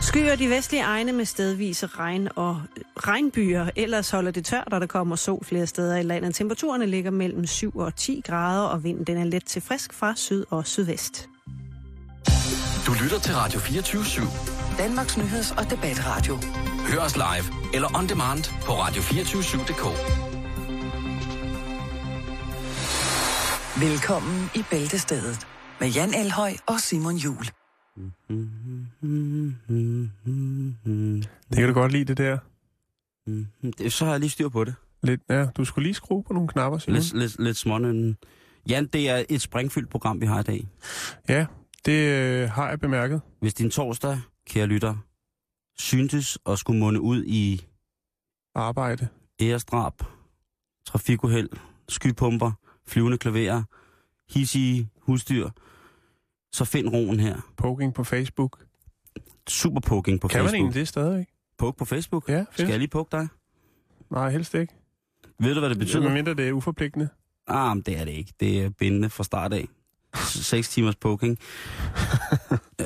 Skyer de vestlige egne med stedvise regn og øh, regnbyer. Ellers holder det tørt, og der kommer sol flere steder i landet. Temperaturerne ligger mellem 7 og 10 grader, og vinden den er let til frisk fra syd og sydvest. Du lytter til Radio 24 /7. Danmarks Nyheds- og Debatradio. Hør os live eller on demand på radio247.dk. Velkommen i Bæltestedet med Jan Elhøj og Simon Jul. Det kan du godt lide, det der. Mm, det- Mm-hmm. Så har jeg lige styr på det. Lidt, ja, du skulle lige skrue på nogle knapper, Simon. Lidt, lidt, lidt smånønden. Jan, det er et springfyldt program, vi har i dag. Ja, det øh, har jeg bemærket. Hvis din torsdag, kære lytter, syntes og skulle munde ud i Arbejde. æresdrab, trafikuheld, skypumper, flyvende klaverer, hissige husdyr, så find roen her. Poking på Facebook. På Super poking på kan Facebook. man Facebook. egentlig det stadigvæk? Poke på Facebook? Ja, fedt. Skal jeg lige poke dig? Nej, helst ikke. Ved du, hvad det betyder? Men mindre det er uforpligtende. Ah, men det er det ikke. Det er bindende fra start af. 6 timers poking.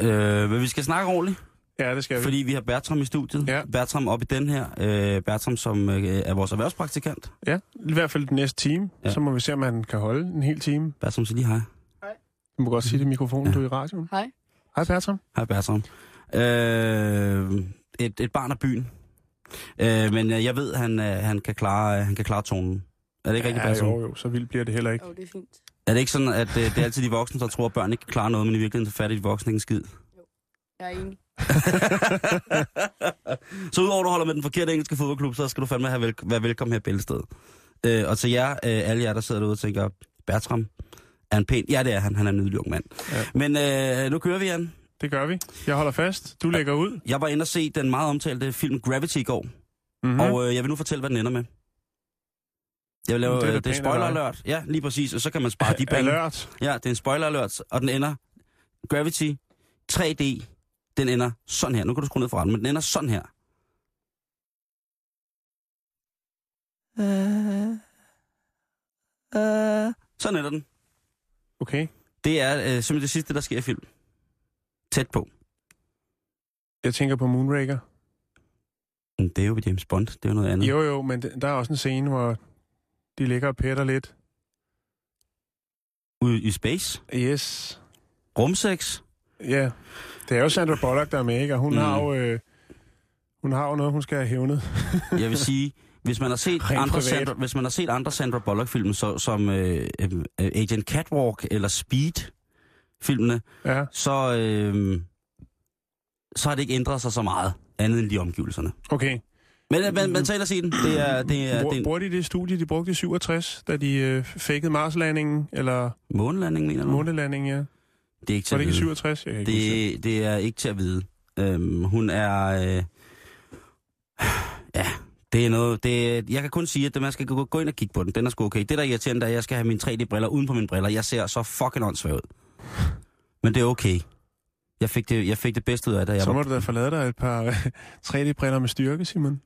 øh, men vi skal snakke ordentligt, Ja, det skal vi. fordi vi har Bertram i studiet. Ja. Bertram op i den her. Øh, Bertram, som øh, er vores erhvervspraktikant. Ja, i hvert fald den næste time. Ja. Ja. Så må vi se, om han kan holde en hel time. Bertram, så lige hej. Du må godt sige det i mikrofonen, Mm. Ja. ja. du er i radioen. Hej. Hej, Bertram. Hej, Bertram. Øh, et, et barn af byen. Øh, men øh, jeg ved, han, øh, han, kan klare, øh, han kan klare tonen. Er det ikke ja, rigtigt, Bertram? jo, jo, så vildt bliver det heller ikke. Jo, det er fint. Er det ikke sådan, at øh, det er altid de voksne, der tror, at børn ikke kan klare noget, men i virkeligheden så fatter de voksne ikke en skid? Jeg er enig. så udover at du holder med den forkerte engelske fodboldklub, så skal du fandme have vel- være velkommen her i Bælsted. Øh, og til jer, øh, alle jer, der sidder derude og tænker, Bertram, er han pæn? Ja, det er han. Han er en nydelig ung mand. Ja. Ja. Men øh, nu kører vi, Jan. Det gør vi. Jeg holder fast. Du lægger ud. Jeg var inde og se den meget omtalte film Gravity i går, mm-hmm. Mm-hmm. og øh, jeg vil nu fortælle, hvad den ender med. Jeg vil lave, øh, Det er det da er, det er pænt af spoiler dig. alert. Ja, lige præcis. Og så kan man spare de penge. Alert. Ja, det er en spoiler alert, og den ender, Gravity 3D, den ender sådan her. Nu kan du skrue ned for den, men den ender sådan her. Sådan ender den. Okay. Det er øh, simpelthen det sidste, der sker i film. Tæt på. Jeg tænker på Moonraker. Men Det er jo James Bond, det er jo noget andet. Jo, jo, men det- der er også en scene, hvor de ligger og pætter lidt. Ude i space. Yes. Rumsex. Ja. Det er jo Sandra Bullock, der er med, ikke? Og hun, Mm. mm. har jo, øh, hun har jo noget, hun skal have hævnet. Jeg vil sige, hvis man har set Rent andre privat. Sandra, hvis man har set andre Sandra Bullock film så, som øh, øh, øh, Agent Catwalk eller Speed filmene, Ja, så øh, så har det ikke ændret sig så meget andet end de omgivelserne. okay. Men man, man taler se den. Det er det er, Bru- det er en Bruger de det studie, de brugte i 67, da de øh, fakede Marslandingen, eller månelanding mener du? månelandingen, ja? Det er ikke til Var at det ikke i vide. 67? Jeg kan ikke huske Det, det er ikke til at vide. Øhm, hun er... Øh, ja, det er noget... Det, jeg kan kun sige, at det- man skal gå, gå ind og kigge på den. Den er sgu okay. Det, der er irriterende, er, at jeg skal have mine 3D-briller uden på mine briller. Jeg ser så fucking åndssvagt ud. Men det er okay. Jeg fik det, jeg fik det bedste ud af det. det. Jeg Så var, må du da forlade dig et par 3D-briller med styrke, Simon.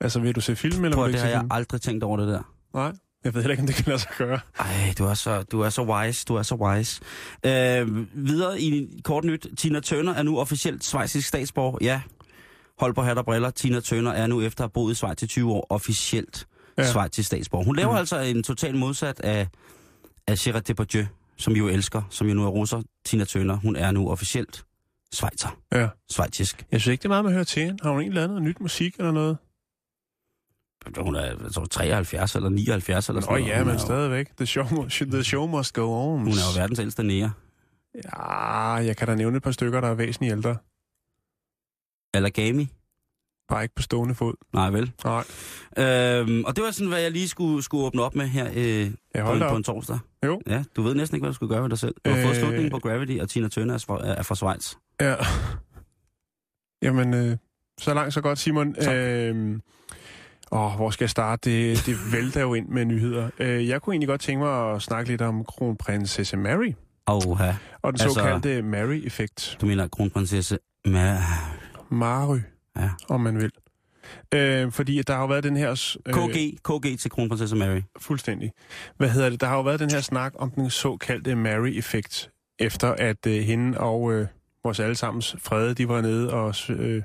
Altså, vil du se film, eller prøv, vil at- det du ikke har se jeg film? aldrig tænkt over det der. Nej, jeg ved heller ikke, om det kan lade sig gøre. Ej, du er så, du er så wise, du er så wise. Øh, videre i kort nyt. Tina Turner er nu officielt svejsisk statsborger. Ja, hold på hat og briller. Tina Turner er nu efter at have boet i Schweiz i 20 år officielt ja. Ja. svejsisk statsborger. Hun laver mm. Mhm. altså en total modsat af, af Gérard Depardieu, som jo elsker, som jo nu er russer. Tina Turner, hun er nu officielt svejser. Ja. Svejtisk. Jeg synes ikke, det er meget med at høre til hende. Har hun egentlig lavet noget nyt musik eller noget? Hun er jeg tror, 73 eller 79 eller sådan Nå noget. ja, hun, er men jo, stadigvæk. The show, mu- the show must go on. hun er jo verdens ældste nære. Ja, jeg kan da nævne et par stykker, der er væsentligt ældre. Allergami? Bare ikke på stående fod. Nej, vel? Nej, Øhm, og det var sådan, hvad jeg lige skulle, skulle åbne op med her øh, jeg på, en, holder på op. en torsdag. Jo. Ja, du ved næsten ikke, hvad du skulle gøre ved dig selv. Du har øh... fået Øh. slutningen på Gravity, og Tina Turner er fra, er fra Schweiz. Ja. Jamen, øh, så langt, så godt, Simon. Tak. Øh, åh, hvor skal jeg starte? Det, det vælter jo ind med nyheder. Øh, jeg kunne egentlig godt tænke mig at snakke lidt om kronprinsesse Mary Åh, og den Altså- altså... såkaldte Mary-effekt. du mener kronprinsesse Ma... Mary, Ja. om man vil. Øh, fordi at der har jo været den her... øh, KG, KG til kronprinsesse Mary. Fuldstændig. Hvad hedder det? Der har jo været den her snak om den såkaldte Mary-effekt, efter at øh, hende og, øh, vores allesammens frede, de var nede og, øh,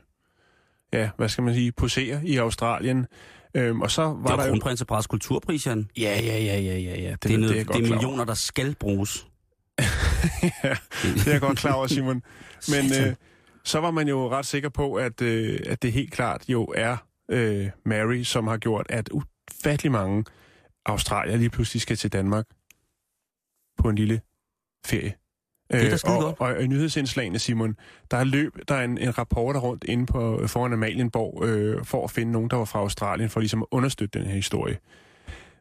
ja, hvad skal man sige, posere i Australien. Øhm, og så var Det der er jo... kronprinseparets kulturpris, Jan. Det, Ja, ja, ja, ja, ja, ja. Det, det, er, noget, jeg det er, godt klar over. millioner, der skal bruges. ja, det er jeg godt klar over, Simon. Men Satan. øh, så var man jo ret sikker på, at, øh, at det helt klart jo er øh, Mary, som har gjort, at ufattelig mange australier lige pludselig skal til Danmark på en lille ferie. er da Øh, skide og, godt. og i nyhedsindslagene, Simon, der er løb, der er en, en rapporter rundt inde på, øh, foran Amalienborg, øh, for at finde nogen, der var fra Australien, for ligesom at understøtte den her historie.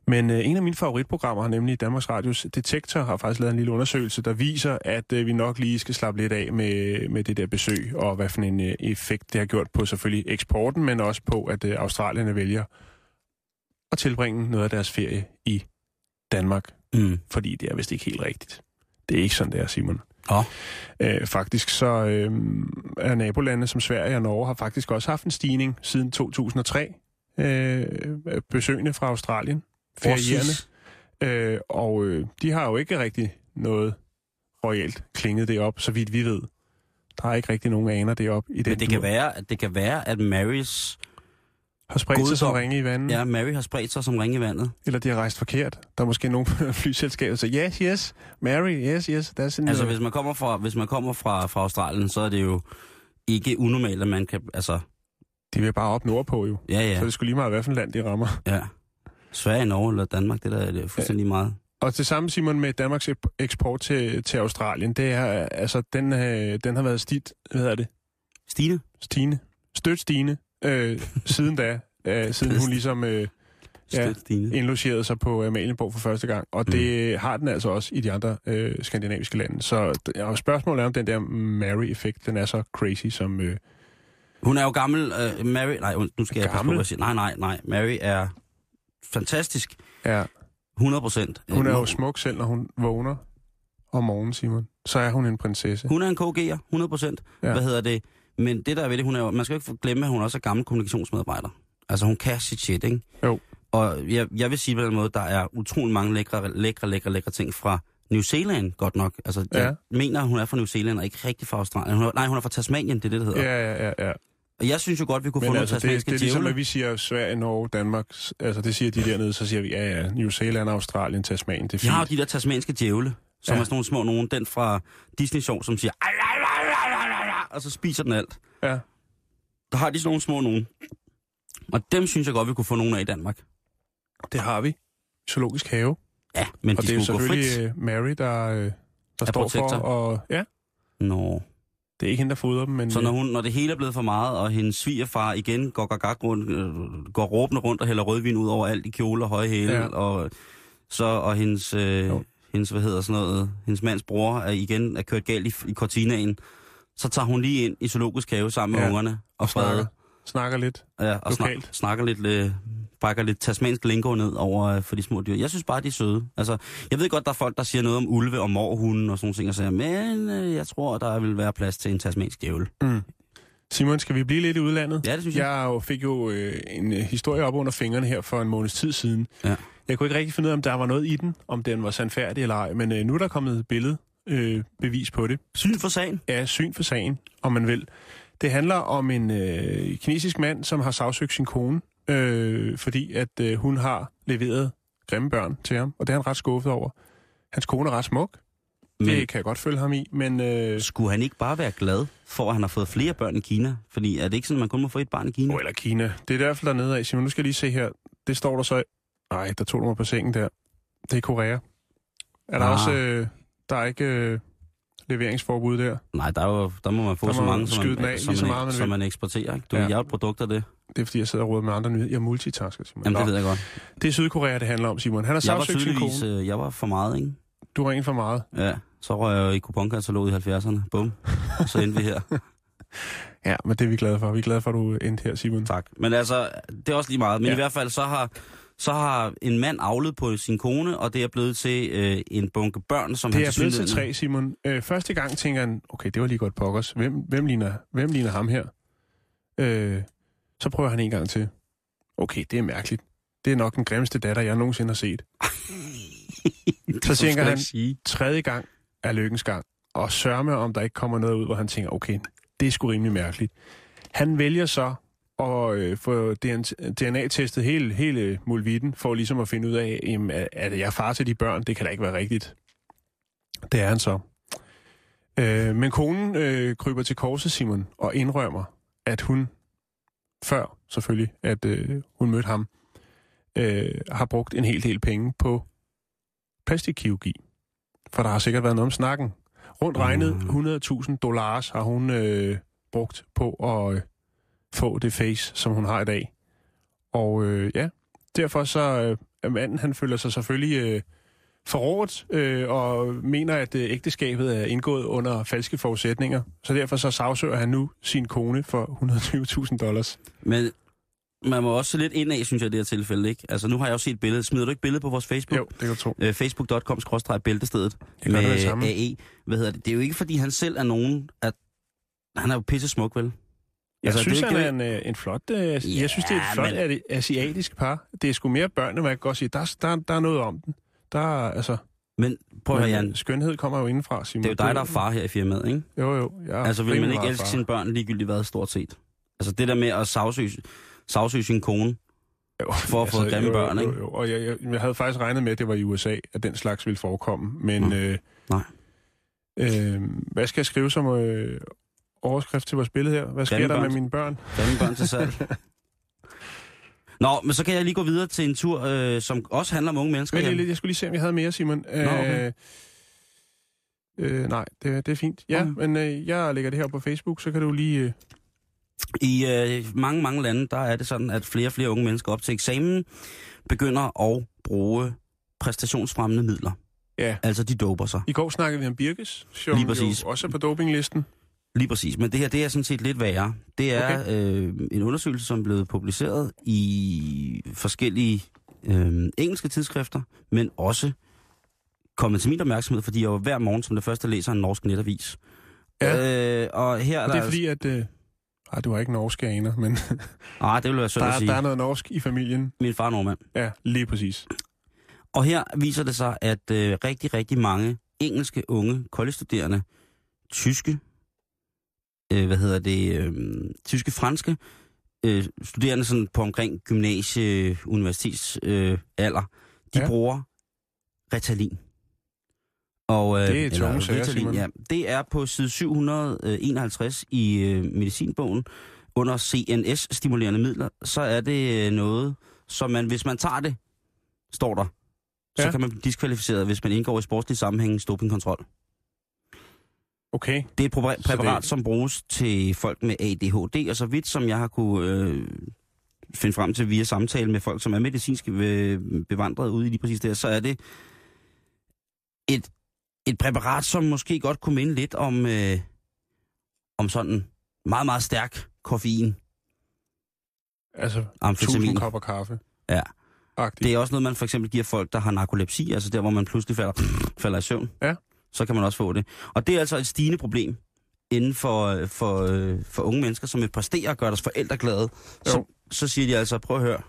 Men øh, en af mine favoritprogrammer, nemlig Danmarks Radios Detektor, har faktisk lavet en lille undersøgelse, der viser, at øh, vi nok lige skal slappe lidt af med, med det der besøg, og hvad for en øh, effekt det har gjort på selvfølgelig eksporten, men også på, at øh, australierne vælger at tilbringe noget af deres ferie i Danmark, Mm. fordi det er vist ikke helt rigtigt. Det er ikke sådan, det er, Simon. Nå. Øh, faktisk så øh, er nabolande som Sverige og Norge har faktisk også haft en stigning siden 2003. Øh, besøgende fra Australien. Ferierende. Præcis. Øh, og øh, de har jo ikke rigtig noget royalt klinget det op, så vidt vi ved. Der er ikke rigtig nogen der aner det op i den Men det dur. kan, være, at det kan være, at Marys, har spredt sig som Goddom. ringe i vandet, ja. ja, Mary har spredt sig som ringe i vandet. eller de har rejst forkert. Der er måske nogen fra flyselskabet, så yes, yes, Mary, yes, yes. Der er sådan, Altså, øh, hvis man kommer fra, hvis man kommer fra, fra Australien, så er det jo ikke unormalt, at man kan... Altså, De vil bare op nordpå jo. ja, Ja. Så ja, er det skulle lige meget, hvad for et land de rammer. ja. Sverige, Norge eller Danmark, det der er det fuldstændig meget. Og det samme, Simon, med Danmarks ep- eksport til, til Australien, det er, øh, altså, den, øh, den har været stit, hvad hedder det, Stine? stigende, stødt stigende, øh, siden da, øh, siden hun ligesom øh, Ja. Støt Stine. indlogerede sig på Amalienborg for første gang. Og det har den altså også i de andre øh, skandinaviske lande. Så d- og spørgsmålet er, om den der Mary-effekt, den er så crazy som... Øh, Hun er jo gammel. Uh, Mary... Nej, und- nu skal jeg passe på, Gammel? hvad jeg siger. Nej, nej, nej. Mary er fantastisk. er. 100 procent. Hun er jo smuk selv, når hun vågner om morgenen, Simon. Så er hun en prinsesse. Hun er en KG'er, 100 procent. Ja. Ja. Hvad hedder det? Men det der er ved det, hun er jo, man skal jo ikke glemme, at hun også er gammel kommunikationsmedarbejder. Altså hun kan sit shit, ikke? Jo. Og jeg, jeg vil sige på den måde, der er utrolig mange lækre, lækre, lækre, lækre ting fra New Zealand, godt nok. Altså, jeg mener, hun er fra New Zealand, og ikke rigtig fra Australien. Hun er, nej, hun er fra Tasmanien, det er det, det hedder. Ja, ja, ja. ja. Og jeg synes jo godt, vi kunne få Men nogle altså, det, tasmanske det er ligesom, djævle. at vi siger Sverige, Norge, Danmark. Altså, det siger de dernede, så siger vi, ja, ja, New Zealand, Australien, Tasmanien, det er Vi har jo fint. de der tasmanske djævle, som Ja. ja. er sådan nogle små nogen, den fra Disney Show, som siger, "Ej, ej, ej, ej, ej, ej, ej," og så spiser den alt. Ja. Der har de sådan nogle små nogen. Og dem synes jeg godt, vi kunne få nogen af i Danmark. Det har vi. Zoologisk have. Ja, men Og de det er jo skulle gå frit. selvfølgelig øh, Mary, der, øh, der står for. protektor. Og, ja, Nå. det er ikke hende, der fodrer dem, men... Så når, øh, hun, når det hele er blevet for meget, og hendes svigerfar igen går, gagak rundt, øh, går råbende rundt og hælder rødvin ud over alt i kjole og høje hæle, Ja. ja. og, så, og hendes, øh, Jo. hendes, hvad hedder sådan noget, hendes mands bror er igen er kørt galt i, i kortinaen, så tager hun lige ind i zoologisk have sammen med Ja. ja. ungerne og snakker, freder, snakker lidt. ja, og snak, lokalt. snakker lidt, øh, brækker lidt tasmansk lingo ned over øh, for de små dyr. Jeg synes bare, de er søde. Altså, jeg ved godt, der er folk, der siger noget om ulve og morhunden og sådan nogle ting, og siger, men øh, jeg tror, der vil være plads til en tasmansk djævel. Simon, skal vi blive lidt i udlandet? Ja, det synes jeg. Jeg jo- fik jo øh, en øh, historie op under fingrene her for en måneds tid siden. Ja. Jeg kunne ikke rigtig finde ud af, om der var noget i den, om den var sandfærdig eller ej, men øh, nu er der kommet et billede, øh, bevis på det. Syn for sagen. er syn for sagen, om man vil. Det handler om en øh, kinesisk mand, som har sagsøgt sin kone, øh, fordi at øh, hun har leveret grimme børn til ham, og det er han ret skuffet over. Hans kone er ret smuk, men... Men det kan jeg godt følge ham i, men øh, skulle han ikke bare være glad for, at han har fået flere børn i Kina? Fordi er det ikke sådan, at man kun må få et barn i Kina? oh, eller Kina, det er i hvert fald dernede af. Simon, nu skal jeg lige se her, det står der så... Nej, der tog du mig på sengen der. Det er Korea. Er der Ah. også... Øh, der er ikke øh, leveringsforbud der. Nej, der, er jo, der må man få Der må så man mange, som skyde man, den af, lige som, så man, meget, man som vil. man eksporterer. Ikke? Du Ja. ja. er jo et produkt af det. Det er, fordi jeg sidder og råder med andre nyheder. Jeg multitasker, Simon. Jamen, Nå, det ved jeg godt. det er Sydkorea, det handler om, Simon. Han har Jeg var sagsøgt sin kone. tydeligvis øh, jeg var for meget, ikke? Du ringer for meget. Ja, så røg jeg jo i kuponkataloget i 70'erne. Bum. Og så endte vi her. Ja, men det er vi glade for. Vi er glade for, at du endte her, Simon. Tak. Men altså, det er også lige meget. Men Mm. Ja. ja. i hvert fald, så har, så har en mand avlet på sin kone, og det er blevet til øh, en bunke børn, som Det han er blevet til tilsyneladende- tre, Simon. Øh, første gang tænker han, okay, det var lige godt pokkers. Hvem, hvem, ligner, hvem ligner ham her? Øh, så prøver han en gang til. Okay, det er mærkeligt. Det er nok den grimmeste datter, jeg nogensinde har set. Det Så skal tænker jeg han- ikke sige. Tredje gang er lykkens gang. og sørme, om der ikke kommer noget ud, hvor han tænker, okay, det er sgu rimelig mærkeligt. Han vælger så at øh, få DNA-testet hele, hele mulvitten, for ligesom at finde ud af, jamen, er, er det jeg far til de børn? Det kan da ikke være rigtigt. Det er han så. Øh, men konen øh, kryber til korset, Simon, og indrømmer, at hun, før selvfølgelig, at øh, hun mødte ham, øh, har brugt en hel del penge på plastikkirurgi. For der har sikkert været noget om snakken. Rundt regnet 100.000 dollars har hun øh, brugt på at øh, få det face, som hun har i dag. Og øh, ja, derfor så øh, er manden, han føler sig selvfølgelig øh, forrådt øh, og mener, at øh, ægteskabet er indgået under falske forudsætninger. Så derfor så sagsøger han nu sin kone for 120.000 dollars. Men man må også se lidt indad, synes jeg, i det her tilfælde, ikke? Altså, nu har jeg jo set billedet. Smider du ikke billedet på vores Facebook? Jo, det kan du tro. Øh, facebook.com-bæltestedet Jeg gør det med det samme. AE. E. Hvad hedder det? Det er jo ikke, fordi han selv er nogen, at han er jo pisse smuk, vel? Jeg altså, synes, det, han ikke- er en, øh, en flot... Øh, jeg synes, det er et flot men- men... asiatisk par. Det er sgu mere børnene, man kan godt sige. Der, er- der, der er noget om den. Der er, altså, Men prøv at høre, men, øh, Jan. skønhed kommer jo indenfra, Simon. Det er jo dig, der er far her i firmaet, ikke? Jo, jo. Jeg er Altså, vil man rimelig ikke meget elske far. sine børn ligegyldigt hvad, stort set? Altså, det der med at sagsøge, sagsøge sin kone Jo, altså, for at få grimme jo, børn, jo, ikke? jo, Og jeg, jeg, jeg havde faktisk regnet med, at det var i USA, at den slags ville forekomme. Men Mm. øh, Nej. Øh, hvad skal jeg skrive som øh, overskrift til vores billede her? Hvad sker Grimme der med børn. mine børn? Grimme børn til salg. Nå, men så kan jeg lige gå videre til en tur, øh, som også handler om unge mennesker. Vent lige Jan. lidt, jeg skulle lige se, om jeg havde mere, Simon. Nå, okay. øh, nej, det, det er fint. Ja, Okay. okay. men øh, jeg lægger det her op på Facebook, så kan du lige... Øh, I øh, mange, mange lande, der er det sådan, at flere og flere unge mennesker op til eksamen begynder at bruge præstationsfremmende midler. ja. Altså, de doper sig. I går snakkede vi om Birkes, som Lige præcis. jo også er på dopinglisten. Lige præcis. Men det her, det er sådan set lidt værre. Det er øh, en undersøgelse, som er blevet publiceret i forskellige øh, engelske tidsskrifter, men også kommet til min opmærksomhed, fordi jeg jo hver morgen som det første læser en norsk netavis. Ja. Øh, og her Og det er der... altså- fordi, at... Øh, ej, du har ikke norske aner, men Ah, det ville være der, synd at er- sige. der er noget norsk i familien. Min far er nordmand. Ja, lige præcis. Og her viser det sig, at øh, rigtig, rigtig mange engelske unge collegestuderende, tyske, øh, hvad hedder det, øh, tyske, franske, øh, studerende sådan på omkring gymnasie, universitets øh, alder, de ja. Ja. bruger Ritalin. Og, øh, Det er tunge eller sager, Simon. ja, Det er på side 751 i øh, medicinbogen, under CNS-stimulerende midler, så er det øh, noget, som man, hvis man tager det, står der, så Ja. kan man blive diskvalificeret, hvis man indgår i sportslig sammenhæng dopingkontrol. Okay. Det er et præparat, Så det- præparat, som bruges til folk med ADHD, og så vidt som jeg har kunne øh, finde frem til via samtale med folk, som er medicinsk øh, bevandret ude i lige præcis der, så er det et, et præparat, som måske godt kunne minde lidt om, øh, om sådan meget, meget stærk koffein, Altså, amfetamin. tusind kopper kaffe. Ja. Agtigt. Det er også noget, man for eksempel giver folk, der har narkolepsi, altså der, hvor man pludselig falder, falder i søvn. Ja. Så kan man også få det. Og det er altså et stigende problem inden for, øh, for, øh, for unge mennesker, som vil præstere og gøre deres forældre glade. Så, Jo. så siger de altså, prøv at høre.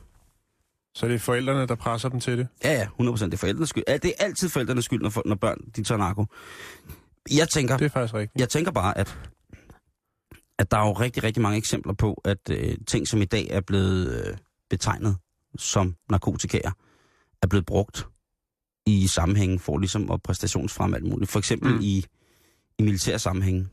Så det er forældrene, der presser dem til det. Ja, ja, 100% det er forældrenes skyld. Ja, det er altid forældrenes skyld, når, for- når børn de tager narko. Jeg tænker, Det er faktisk rigtigt. jeg tænker bare, at, at der er jo rigtig, rigtig mange eksempler på, at øh, ting, som i dag er blevet øh, betegnet som narkotikaer, er blevet brugt i sammenhængen for ligesom at præstationsfremme alt muligt. For eksempel mm. Mm. i, i militær sammenhæng.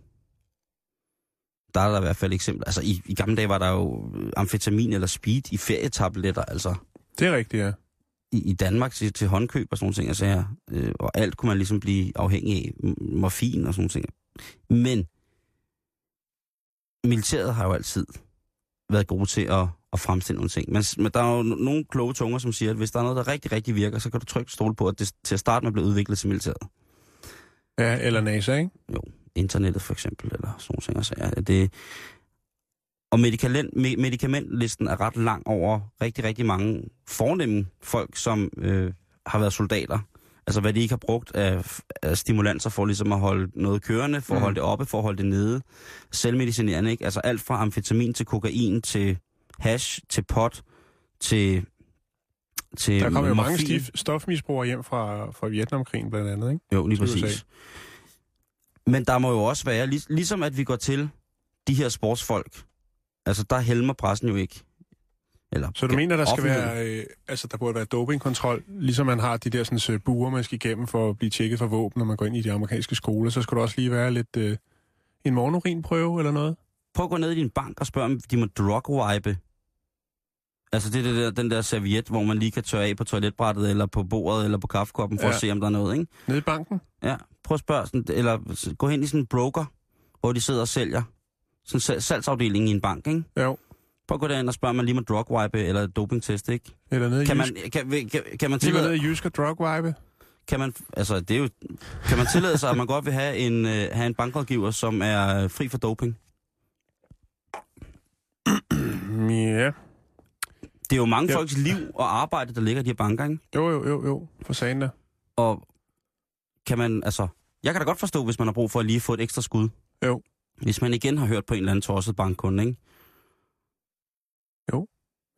Der er der i hvert fald eksempler. Altså i, i gamle dage var der jo øh, amfetamin eller speed i ferietabletter, altså Det er rigtigt, ja. i, i Danmark til, til håndkøb og sådan nogle ting, altså, her, øh, og alt kunne man ligesom blive afhængig af, m- morfin og sådan nogle ting. Men militæret har jo altid været gode til at, at fremstille nogle ting. Men, s- men der er jo no- nogle kloge tunger, som siger, at hvis der er noget, der rigtig, rigtig virker, så kan du trygt stole på, at det s- til at starte med bliver udviklet til militæret. Ja, eller NASA, ikke? Internettet for eksempel, eller sådan nogle ting. Og, sager. At det, og medicalen- me- medicamentlisten er ret lang over rigtig, rigtig mange fornemme folk, som øh, har været soldater. Altså hvad de ikke har brugt af, af stimulanser for ligesom at holde noget kørende, for at Mm. holde det oppe, for at holde det nede. Selvmedicinerende, ikke? Altså alt fra amfetamin til kokain, til hash, til pot, til til Der kom jo mange morfin. stif, stofmisbrugere hjem fra, fra Vietnamkrigen blandt andet, ikke? Jo, lige til USA. præcis. Men der må jo også være, lig- ligesom at vi går til de her sportsfolk, altså der helmer pressen jo ikke. Eller, Så du mener, der skal offentligheden. være, øh, altså, der burde være dopingkontrol, ligesom man har de der sådan, øh, buer, man skal igennem for at blive tjekket for våben, når man går ind i de amerikanske skoler, så skulle der også lige være lidt øh, en morgenurinprøve eller noget? Prøv at gå ned i din bank og spørg, om de må drugwipe. Altså det er det der, den der serviet, hvor man lige kan tørre af på toiletbrættet, eller på bordet, eller på kaffekoppen, for ja. Ja. at se, om der er noget, ikke? Nede i banken? Ja, prøv at spørge, sådan, eller s- gå hen i sådan en broker, hvor de sidder og sælger. Sådan sal- salgsafdelingen i en bank, ikke? Jo. Prøv at gå derind og spørg, om man lige må drugwipe eller dopingtest, ikke? Eller nede i Kan Jysk? man, kan, kan, kan man Lige gå ned tillade... i Jysk og drugvibe? kan man, altså, det er jo, kan man tillade sig, at man godt vil have en, øh, have en bankrådgiver, som er øh, fri for doping? Mm, Ja. Det er jo mange Ja. ja. folks liv og arbejde, der ligger i de her banker, ikke? Jo, jo, jo, jo. For sagen der. Og kan man, altså... Jeg kan da godt forstå, hvis man har brug for at lige få et ekstra skud. Jo. Hvis man igen har hørt på en eller anden tosset bankkunde, ikke?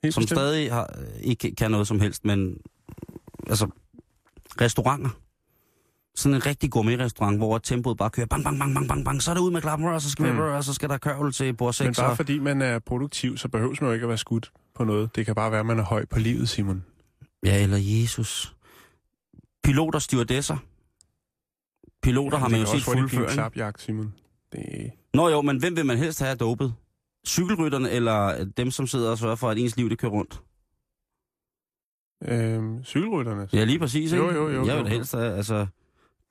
Helt Som bestemt. stadig har, øh, ikke kan noget som helst, men... Altså, restauranter. Sådan en rigtig gourmet-restaurant, hvor tempoet bare kører bang, bang, bang, bang, bang, bang, så er det ud med klappen, og så skal, Mm. mm. og så skal der kørvel til bord 6. Men bare fordi man er produktiv, så behøves man jo ikke at være skudt på noget. Det kan bare være, at man er høj på livet, Simon. Ja, eller Jesus. Piloter, stewardesser. Piloter har Det man kan jo set også hurtigt blive en fuldføring. klapjagt, Simon. Det... Nå jo, men hvem vil man helst have dopet? Cykelrytterne eller øh, dem, som sidder og sørger for, at ens liv det kører rundt? Øhm, cykelrytterne. Ja, lige præcis, ikke? Jo, jo, jo, Jeg vil jo. da helst have, altså...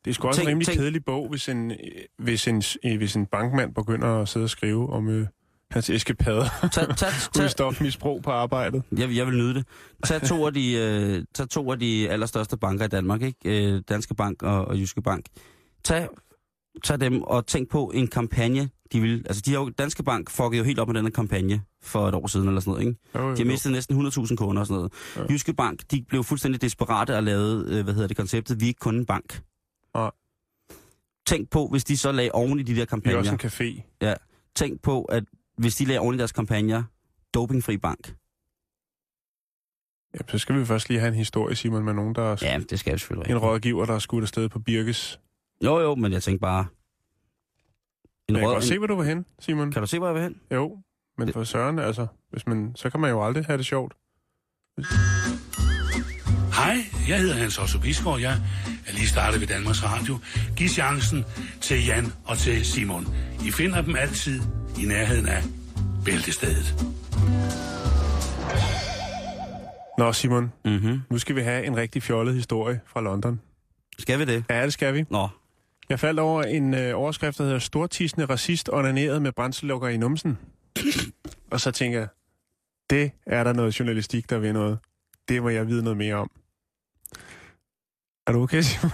Det er sgu også Tænk- en rimelig tænk- kedelig bog, hvis en, øh, hvis, en, øh, hvis en bankmand begynder at sidde og skrive om øh, hans eskapader Tag, tag, med tag, stofmisbrug på arbejdet. jeg, jeg vil nyde det. Tag to, af de, øh, tag to af de allerstørste banker i Danmark, ikke? Øh, Danske Bank og, og Jyske Bank. Tag, tag dem og tænk på en kampagne, de vil... Altså, de har jo, Danske Bank fuckede jo helt op med den her kampagne for et år siden eller sådan noget, ikke? Jo, jo, De har jo. mistet næsten 100.000 kunder og sådan noget. Ja. Ja. Jyske Bank, de blev fuldstændig desperate og lavede, øh, hvad hedder det, konceptet, vi er ikke kun en bank. Nej. Tænk på, hvis de så lagde oven i de der Det er kampagner. også en café. Tænk på, at hvis de lagde oven i deres kampagner, dopingfri bank. Ja, så skal vi først lige have en historie, Simon, med nogen, der er Ja, det skal jeg selvfølgelig en ikke. rådgiver, der er skudt afsted på Birkes. Jo, jo, men jeg tænkte bare... En Jeg kan rød, godt se, en, hvor du var hen, Simon. kan du se, hvor jeg vil hen? Jo, men for søren, altså, hvis man, så kan man jo aldrig have det sjovt. Hej, jeg hedder Hans Otto Bisgaard. Jeg er lige startet ved Danmarks Radio. Giv chancen til Jan og til Simon. I finder dem altid i nærheden af Bæltestedet. Nå, Simon, Mm-hmm. nu skal vi have en rigtig fjollet historie fra London. Skal vi det? Ja, det skal vi. Nå, Jeg faldt over en øh, overskrift, der hedder Stortisende racist onaneret med brændslukker i numsen. og så tænker jeg, det er der noget journalistik, der ved noget. Det må jeg vide noget mere om. Er du okay, Simon?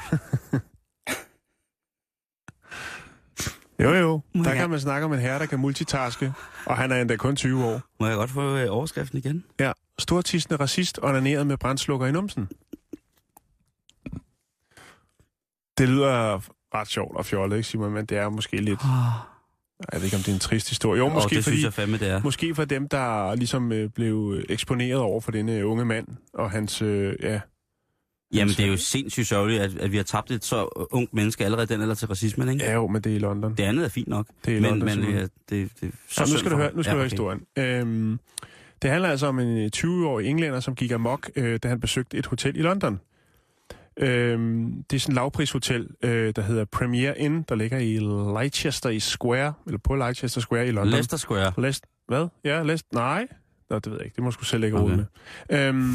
jo, jo. Må Der jeg- kan man snakke om en herre, der kan multitaske, og han er endda kun 20 år. må jeg godt få øh, overskriften igen? Ja, stortisende racist onaneret med brændslukker i numsen. Det lyder ret sjovt og fjollet, ikke Simon? Men det er måske lidt... Oh, Jeg ved ikke, om det er en trist historie. Jo, Måske måske, det fordi, synes jeg fandme, det er. måske for dem, der ligesom øh, blev eksponeret over for denne øh, unge mand og hans... Øh, ja, Jamen, det er jo sindssygt sørgeligt, at, at vi har tabt et så øh, ungt menneske allerede den alder til racismen, ikke? ja jo, men det er i London. Det andet er fint nok. Det er i Men, London, men Simon. øh, det, det, så Nå, nu synd skal for du høre, ham. nu skal ja, du høre okay. historien. Øhm, det handler altså om en øh, 20-årig englænder, som gik amok, øh, da han besøgte et hotel i London. Øhm, det er sådan et lavprishotel, øh, der hedder Premier Inn, der ligger i Leicester i Square, eller på Leicester Square i London. Leicester Square. Lest, hvad? Ja, Lest, nej. Nå, det ved jeg ikke. Det må jeg sgu selv ikke Okay. okay. med. Øhm,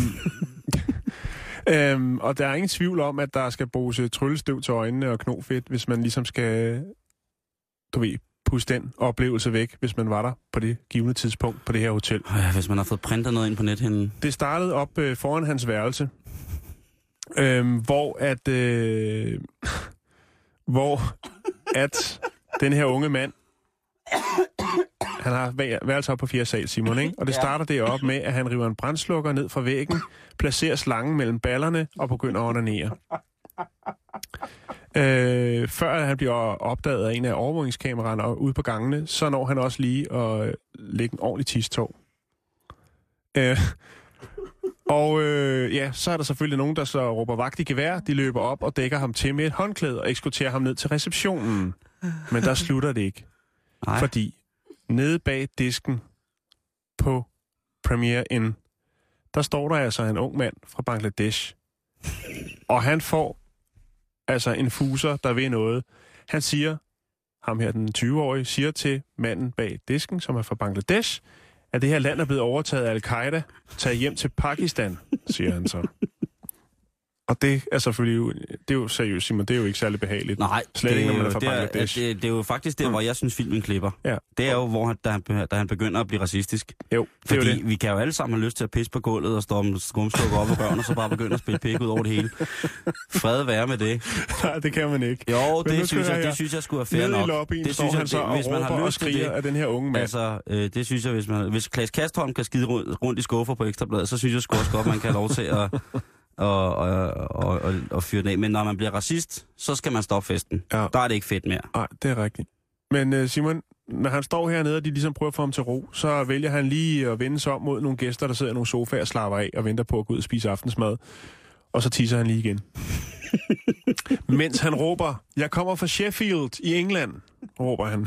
øhm, og der er ingen tvivl om, at der skal bruges øh, tryllestøv til øjnene og knofedt, hvis man ligesom skal, du ved, puste den oplevelse væk, hvis man var der på det givende tidspunkt på det her hotel. Øh, hvis man har fået printet noget ind på nethinden. Det startede op øh, foran hans værelse, øhm, hvor at... Øh, hvor at den her unge mand, han har vær- værelse op på fjerde sal, Simon, ikke? Og det starter det op med, at han river en brændslukker ned fra væggen, placerer slangen mellem ballerne og begynder at onanere. Øh, før han bliver opdaget af en af overvågningskameraerne ude på gangene, så når han også lige at øh, lægge en ordentlig tistog. Øh, og øh, ja, så er der selvfølgelig nogen, der så råber vagt i gevær. De løber op og dækker ham til med et håndklæde og ekskorterer ham ned til receptionen. Men der slutter det ikke. Nej. Fordi nede bag disken på Premiere Inn, der står der altså en ung mand fra Bangladesh. Og han får altså en fuser, der ved noget. Han siger, ham her den 20-årige, siger til manden bag disken, som er fra Bangladesh, at det her land er blevet overtaget af Al-Qaida. Tag hjem til Pakistan, siger han så. Og det er selvfølgelig jo, det er jo seriøst, Simon, det er jo ikke særlig behageligt. Nej, Slet ikke, når man er fra det, er, Bangladesh. Mm. det, det er jo faktisk der, hvor jeg synes, filmen klipper. Ja. Det er jo, hvor han, da, han, be- da han begynder at blive racistisk. Jo, det er jo Fordi det. vi kan jo alle sammen have lyst til at pisse på gulvet og stå med skumstukker op og røven, og så bare begynde at spille pik ud over det hele. Fred være med det. Nej, det kan man ikke. Jo, nu det synes, kører jeg, jeg det synes jeg skulle være fair Nede i nok. lobbyen det står synes han jeg, så og hvis man råber har og lyst til skriger det. af den her unge mand. Altså, øh, det synes jeg, hvis, man, hvis Klaas Kastholm kan skide rundt, rundt i skuffer på Ekstrabladet, så synes jeg sgu også godt, man kan have lov til at, og, og, og, og, og fyre den af. Men når man bliver racist, så skal man stoppe festen. Ja. Der er det ikke fedt mere. Nej, Ah, det er rigtigt. Men øh, Simon, når han står hernede, og de ligesom prøver at få ham til ro, så vælger han lige at vende sig om mod nogle gæster, der sidder i nogle sofaer og slapper af og venter på at gå ud og spise aftensmad. Og så tisser han lige igen. Mens han råber, jeg kommer fra Sheffield i England, råber han.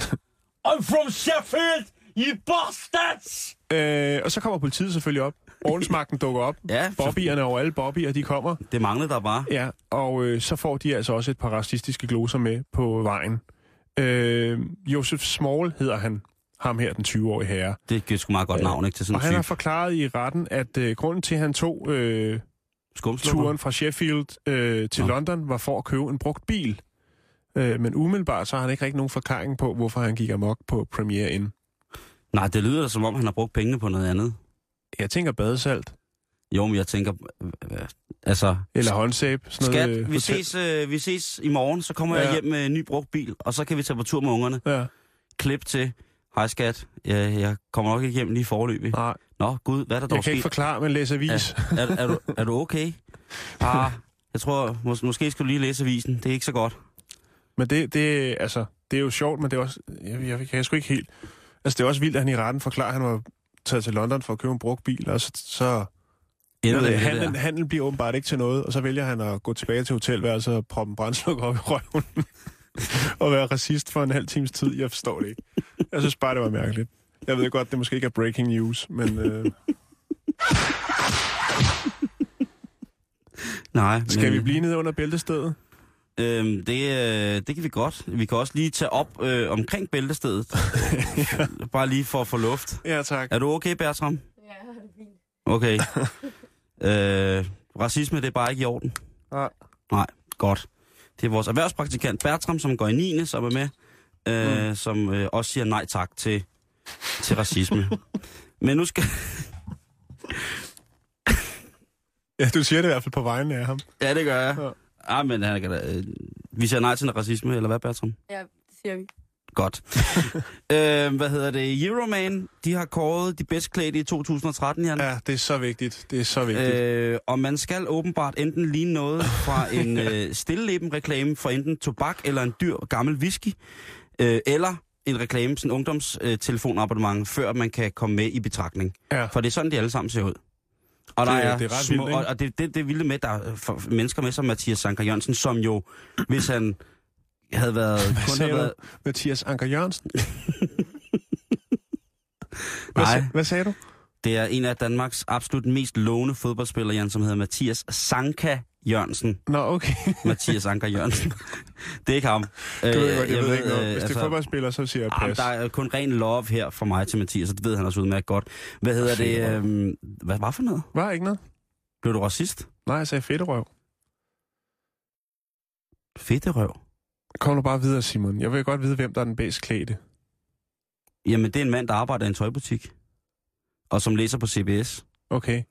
I'm from Sheffield, you bastards! Øh, og så kommer politiet selvfølgelig op. Ordensmagten dukker op. Ja, så, Bobbyerne over alle Bobbyer, de kommer. det manglede der bare. Ja, og øh, så får de altså også et par racistiske gloser med på vejen. Øh, Josef Small hedder han, ham her, den 20-årige herre. Det giver sgu meget godt navn, ikke? Til sådan Og en han har type forklaret i retten, at øh, grunden til, at han tog øh, skumslukker. turen fra Sheffield øh, til Nå. London, var for at købe en brugt bil. Øh, men umiddelbart så har han ikke rigtig nogen forklaring på, hvorfor han gik amok på Premiere Inn. Nej, det lyder da, som om, han har brugt pengene på noget andet. Jeg tænker badesalt Jo, men jeg tænker... øh, øh, Altså, eller håndsæbe. Sådan skat, noget, øh, vi, hotel- ses, øh, vi ses i morgen, så kommer Ja. jeg hjem med en ny brugt bil, og så kan vi tage på tur med ungerne. Ja, Klip til, hej skat, jeg, jeg kommer nok ikke hjem lige i forløbet. nej, Nå, gud, hvad er der dog Ah. jeg kan ikke sket? forklare, men læs avis. Ja. er, er, du, er du okay? Ah, jeg tror, mås- måske skal du lige læse avisen. Det er ikke så godt. Men det, det, altså, det er jo sjovt, men det er også... Jeg, jeg, jeg kan sgu ikke helt... Altså, det er også vildt, at han i retten forklarer, at han var taget til London for at købe en brugt bil, og så, så Ender Eller det, det, med det handlen, der? handlen bliver åbenbart ikke til noget, og så vælger han at gå tilbage til hotelværelset og proppe en brændslukker op i røven. og være racist for en halv times tid. Jeg forstår det ikke. Jeg synes bare, det var mærkeligt. Jeg ved godt, det måske ikke er breaking news, men øh, Nej. skal men, vi blive nede under bæltestedet? Øhm, det, øh, det kan vi godt. Vi kan også lige tage op øh, omkring bæltestedet. Bare lige for at få luft. Ja, tak. Er du okay, Bertram? Ja, det er fint. Okay. øh, racisme, det er bare ikke i orden. Nej. Nej, godt. Det er vores erhvervspraktikant Bertram, som går i 9. som er med, øh, mm. som øh, også siger nej tak til, til racisme. Men nu skal... Ja, du siger det i hvert fald på vegne af ham. Ja, det gør jeg. Ja. Ja. Ah, men han kan da, øh, vi siger nej til noget racisme, eller hvad, Bertram? Ja, det siger vi. Godt. øh, hvad hedder det? Euroman, de har kåret de bedst klædte i 2013, Jan. Ja, det er så vigtigt. Det er så vigtigt. Øh, Øh, og man skal åbenbart enten ligne noget fra en øh, stilleben-reklame for enten tobak eller en dyr gammel whisky, øh, eller en reklame, sådan en ungdomstelefonabonnement, før man kan komme med i betragtning. ja. For det er sådan, de alle sammen ser ud. Og, Det- der er det er ret små, vildt, ikke? og, og det, det, det er vildt med, der er for, mennesker med som Mathias Sanker Jørgensen, som jo, hvis han havde været... kun havde sagde du? været Mathias Anker Jørgensen. Hvad, Nej. sa- hvad sagde du? det er en af Danmarks absolut mest lovende fodboldspillere, Jan, som hedder Mathias Sanka Jørgensen. Nå, okay. Mathias Anker Jørgensen. Det er ikke ham. Øh, Du ved godt, jeg, jeg ved ikke noget. Hvis det er fodboldspiller, så siger jeg ah, men pas. altså- der er kun ren love her fra mig til Mathias, og det ved han også udmærket godt. Hvad hedder det? Øhm, hvad var for noget? Var ikke noget? Blev du racist? Nej, jeg sagde fedterøv. Fedterøv. Kom nu bare videre, Simon. Jeg vil godt vide, hvem der er den bedst klædte. Jamen, det er en mand, der arbejder i en tøjbutik. Og som læser på CBS. Okay.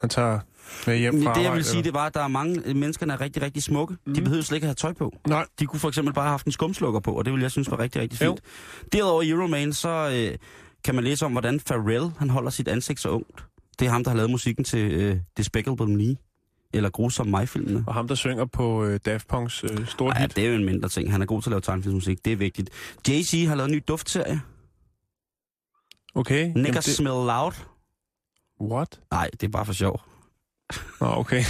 Han tager med hjem Men fra det, jeg arbejde, vil sige, det var, at der er mange øh, mennesker, der er rigtig, rigtig smukke. Mm. Mhm. De behøvede slet ikke at have tøj på. eller? Nej, De kunne for eksempel bare have haft en skumslukker på, og det ville jeg synes var rigtig, rigtig Jo. fint. Jo. Derudover i Euroman, så øh, kan man læse om, hvordan Pharrell han holder sit ansigt så ungt. Det er ham, der har lavet musikken til øh, Despicable Me, eller Grusom Mig-filmene. og ham, der synger på øh, Daft Punk's øh, store Ej, hit. det er jo en mindre ting. Han er god til at lave tegnefilmsmusik, det er vigtigt. Jay-Z har lavet en ny duftserie. Okay. Jamen, Niggas det, Smell Loud. what? Nej, det er bare for sjov. Nå, okay.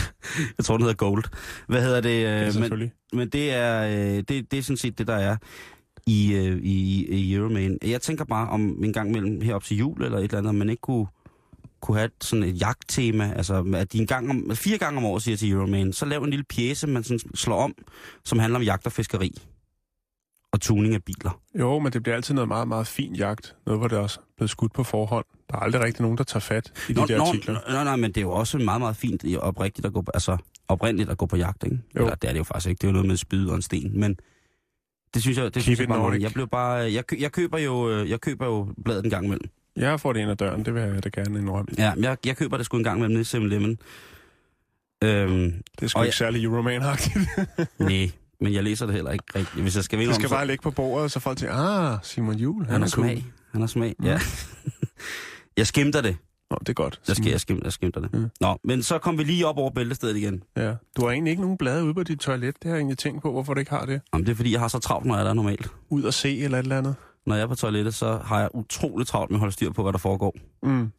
Jeg tror, den hedder Gold. Hvad hedder det? Ja, øh, men, selvfølgelig. men det er, øh, det, det er sådan set det, der er i, øh, i, i Euroman. Jeg tænker bare om en gang imellem herop til jul eller et eller andet, om man ikke kunne, kunne have et, sådan et jagttema. Altså, at de en gang om, fire gange om året siger til Euroman, så lav en lille pjæse, man sådan slår om, som handler om jagt og fiskeri. Og tuning af biler. Jo, men det bliver altid noget meget, meget fin jagt. Noget, hvor det også er blevet skudt på forhånd. Der er aldrig rigtig nogen, der tager fat i de Nå, der nå, artikler. nå, nå, nej, men det er jo også meget, meget fint i- oprigtigt at gå på, altså, oprindeligt at gå på jagt, ikke? Jo. Eller, det er det jo faktisk ikke. Det er jo noget med et spyd og en sten, men det synes jeg, det synes Keep jeg bare, it Nordic. jeg blev bare, øh, jeg, kø, jeg køber jo, øh, jeg køber jo bladet en gang imellem. Jeg får det ind ad døren, det vil jeg da gerne indrømme. Ja, men jeg, jeg køber det sgu en gang imellem nede i 7-Eleven. Øhm, Det er sgu Og ikke jeg- særlig euroman-agtigt. nej, men jeg læser det heller ikke rigtigt. Hvis jeg skal vinde Det om, skal så- bare ligge på bordet, så folk tænker, ah, Simon Juhl, han, han har er cool. smag. Han har smag, ja. jeg skimter det. Nå, det er godt. Jeg, skal, Simon. jeg, skimter, jeg skimter det. Mm. Nå, men så kom vi lige op over bæltestedet igen. Ja. Du har egentlig ikke nogen blade ude på dit toilet. Det har jeg egentlig tænkt på, hvorfor du ikke har det. Jamen, det er fordi, jeg har så travlt, når jeg er der normalt. Ud at se eller et eller andet. når jeg er på toilettet, så har jeg utrolig travlt med at holde styr på, hvad der foregår. Mm.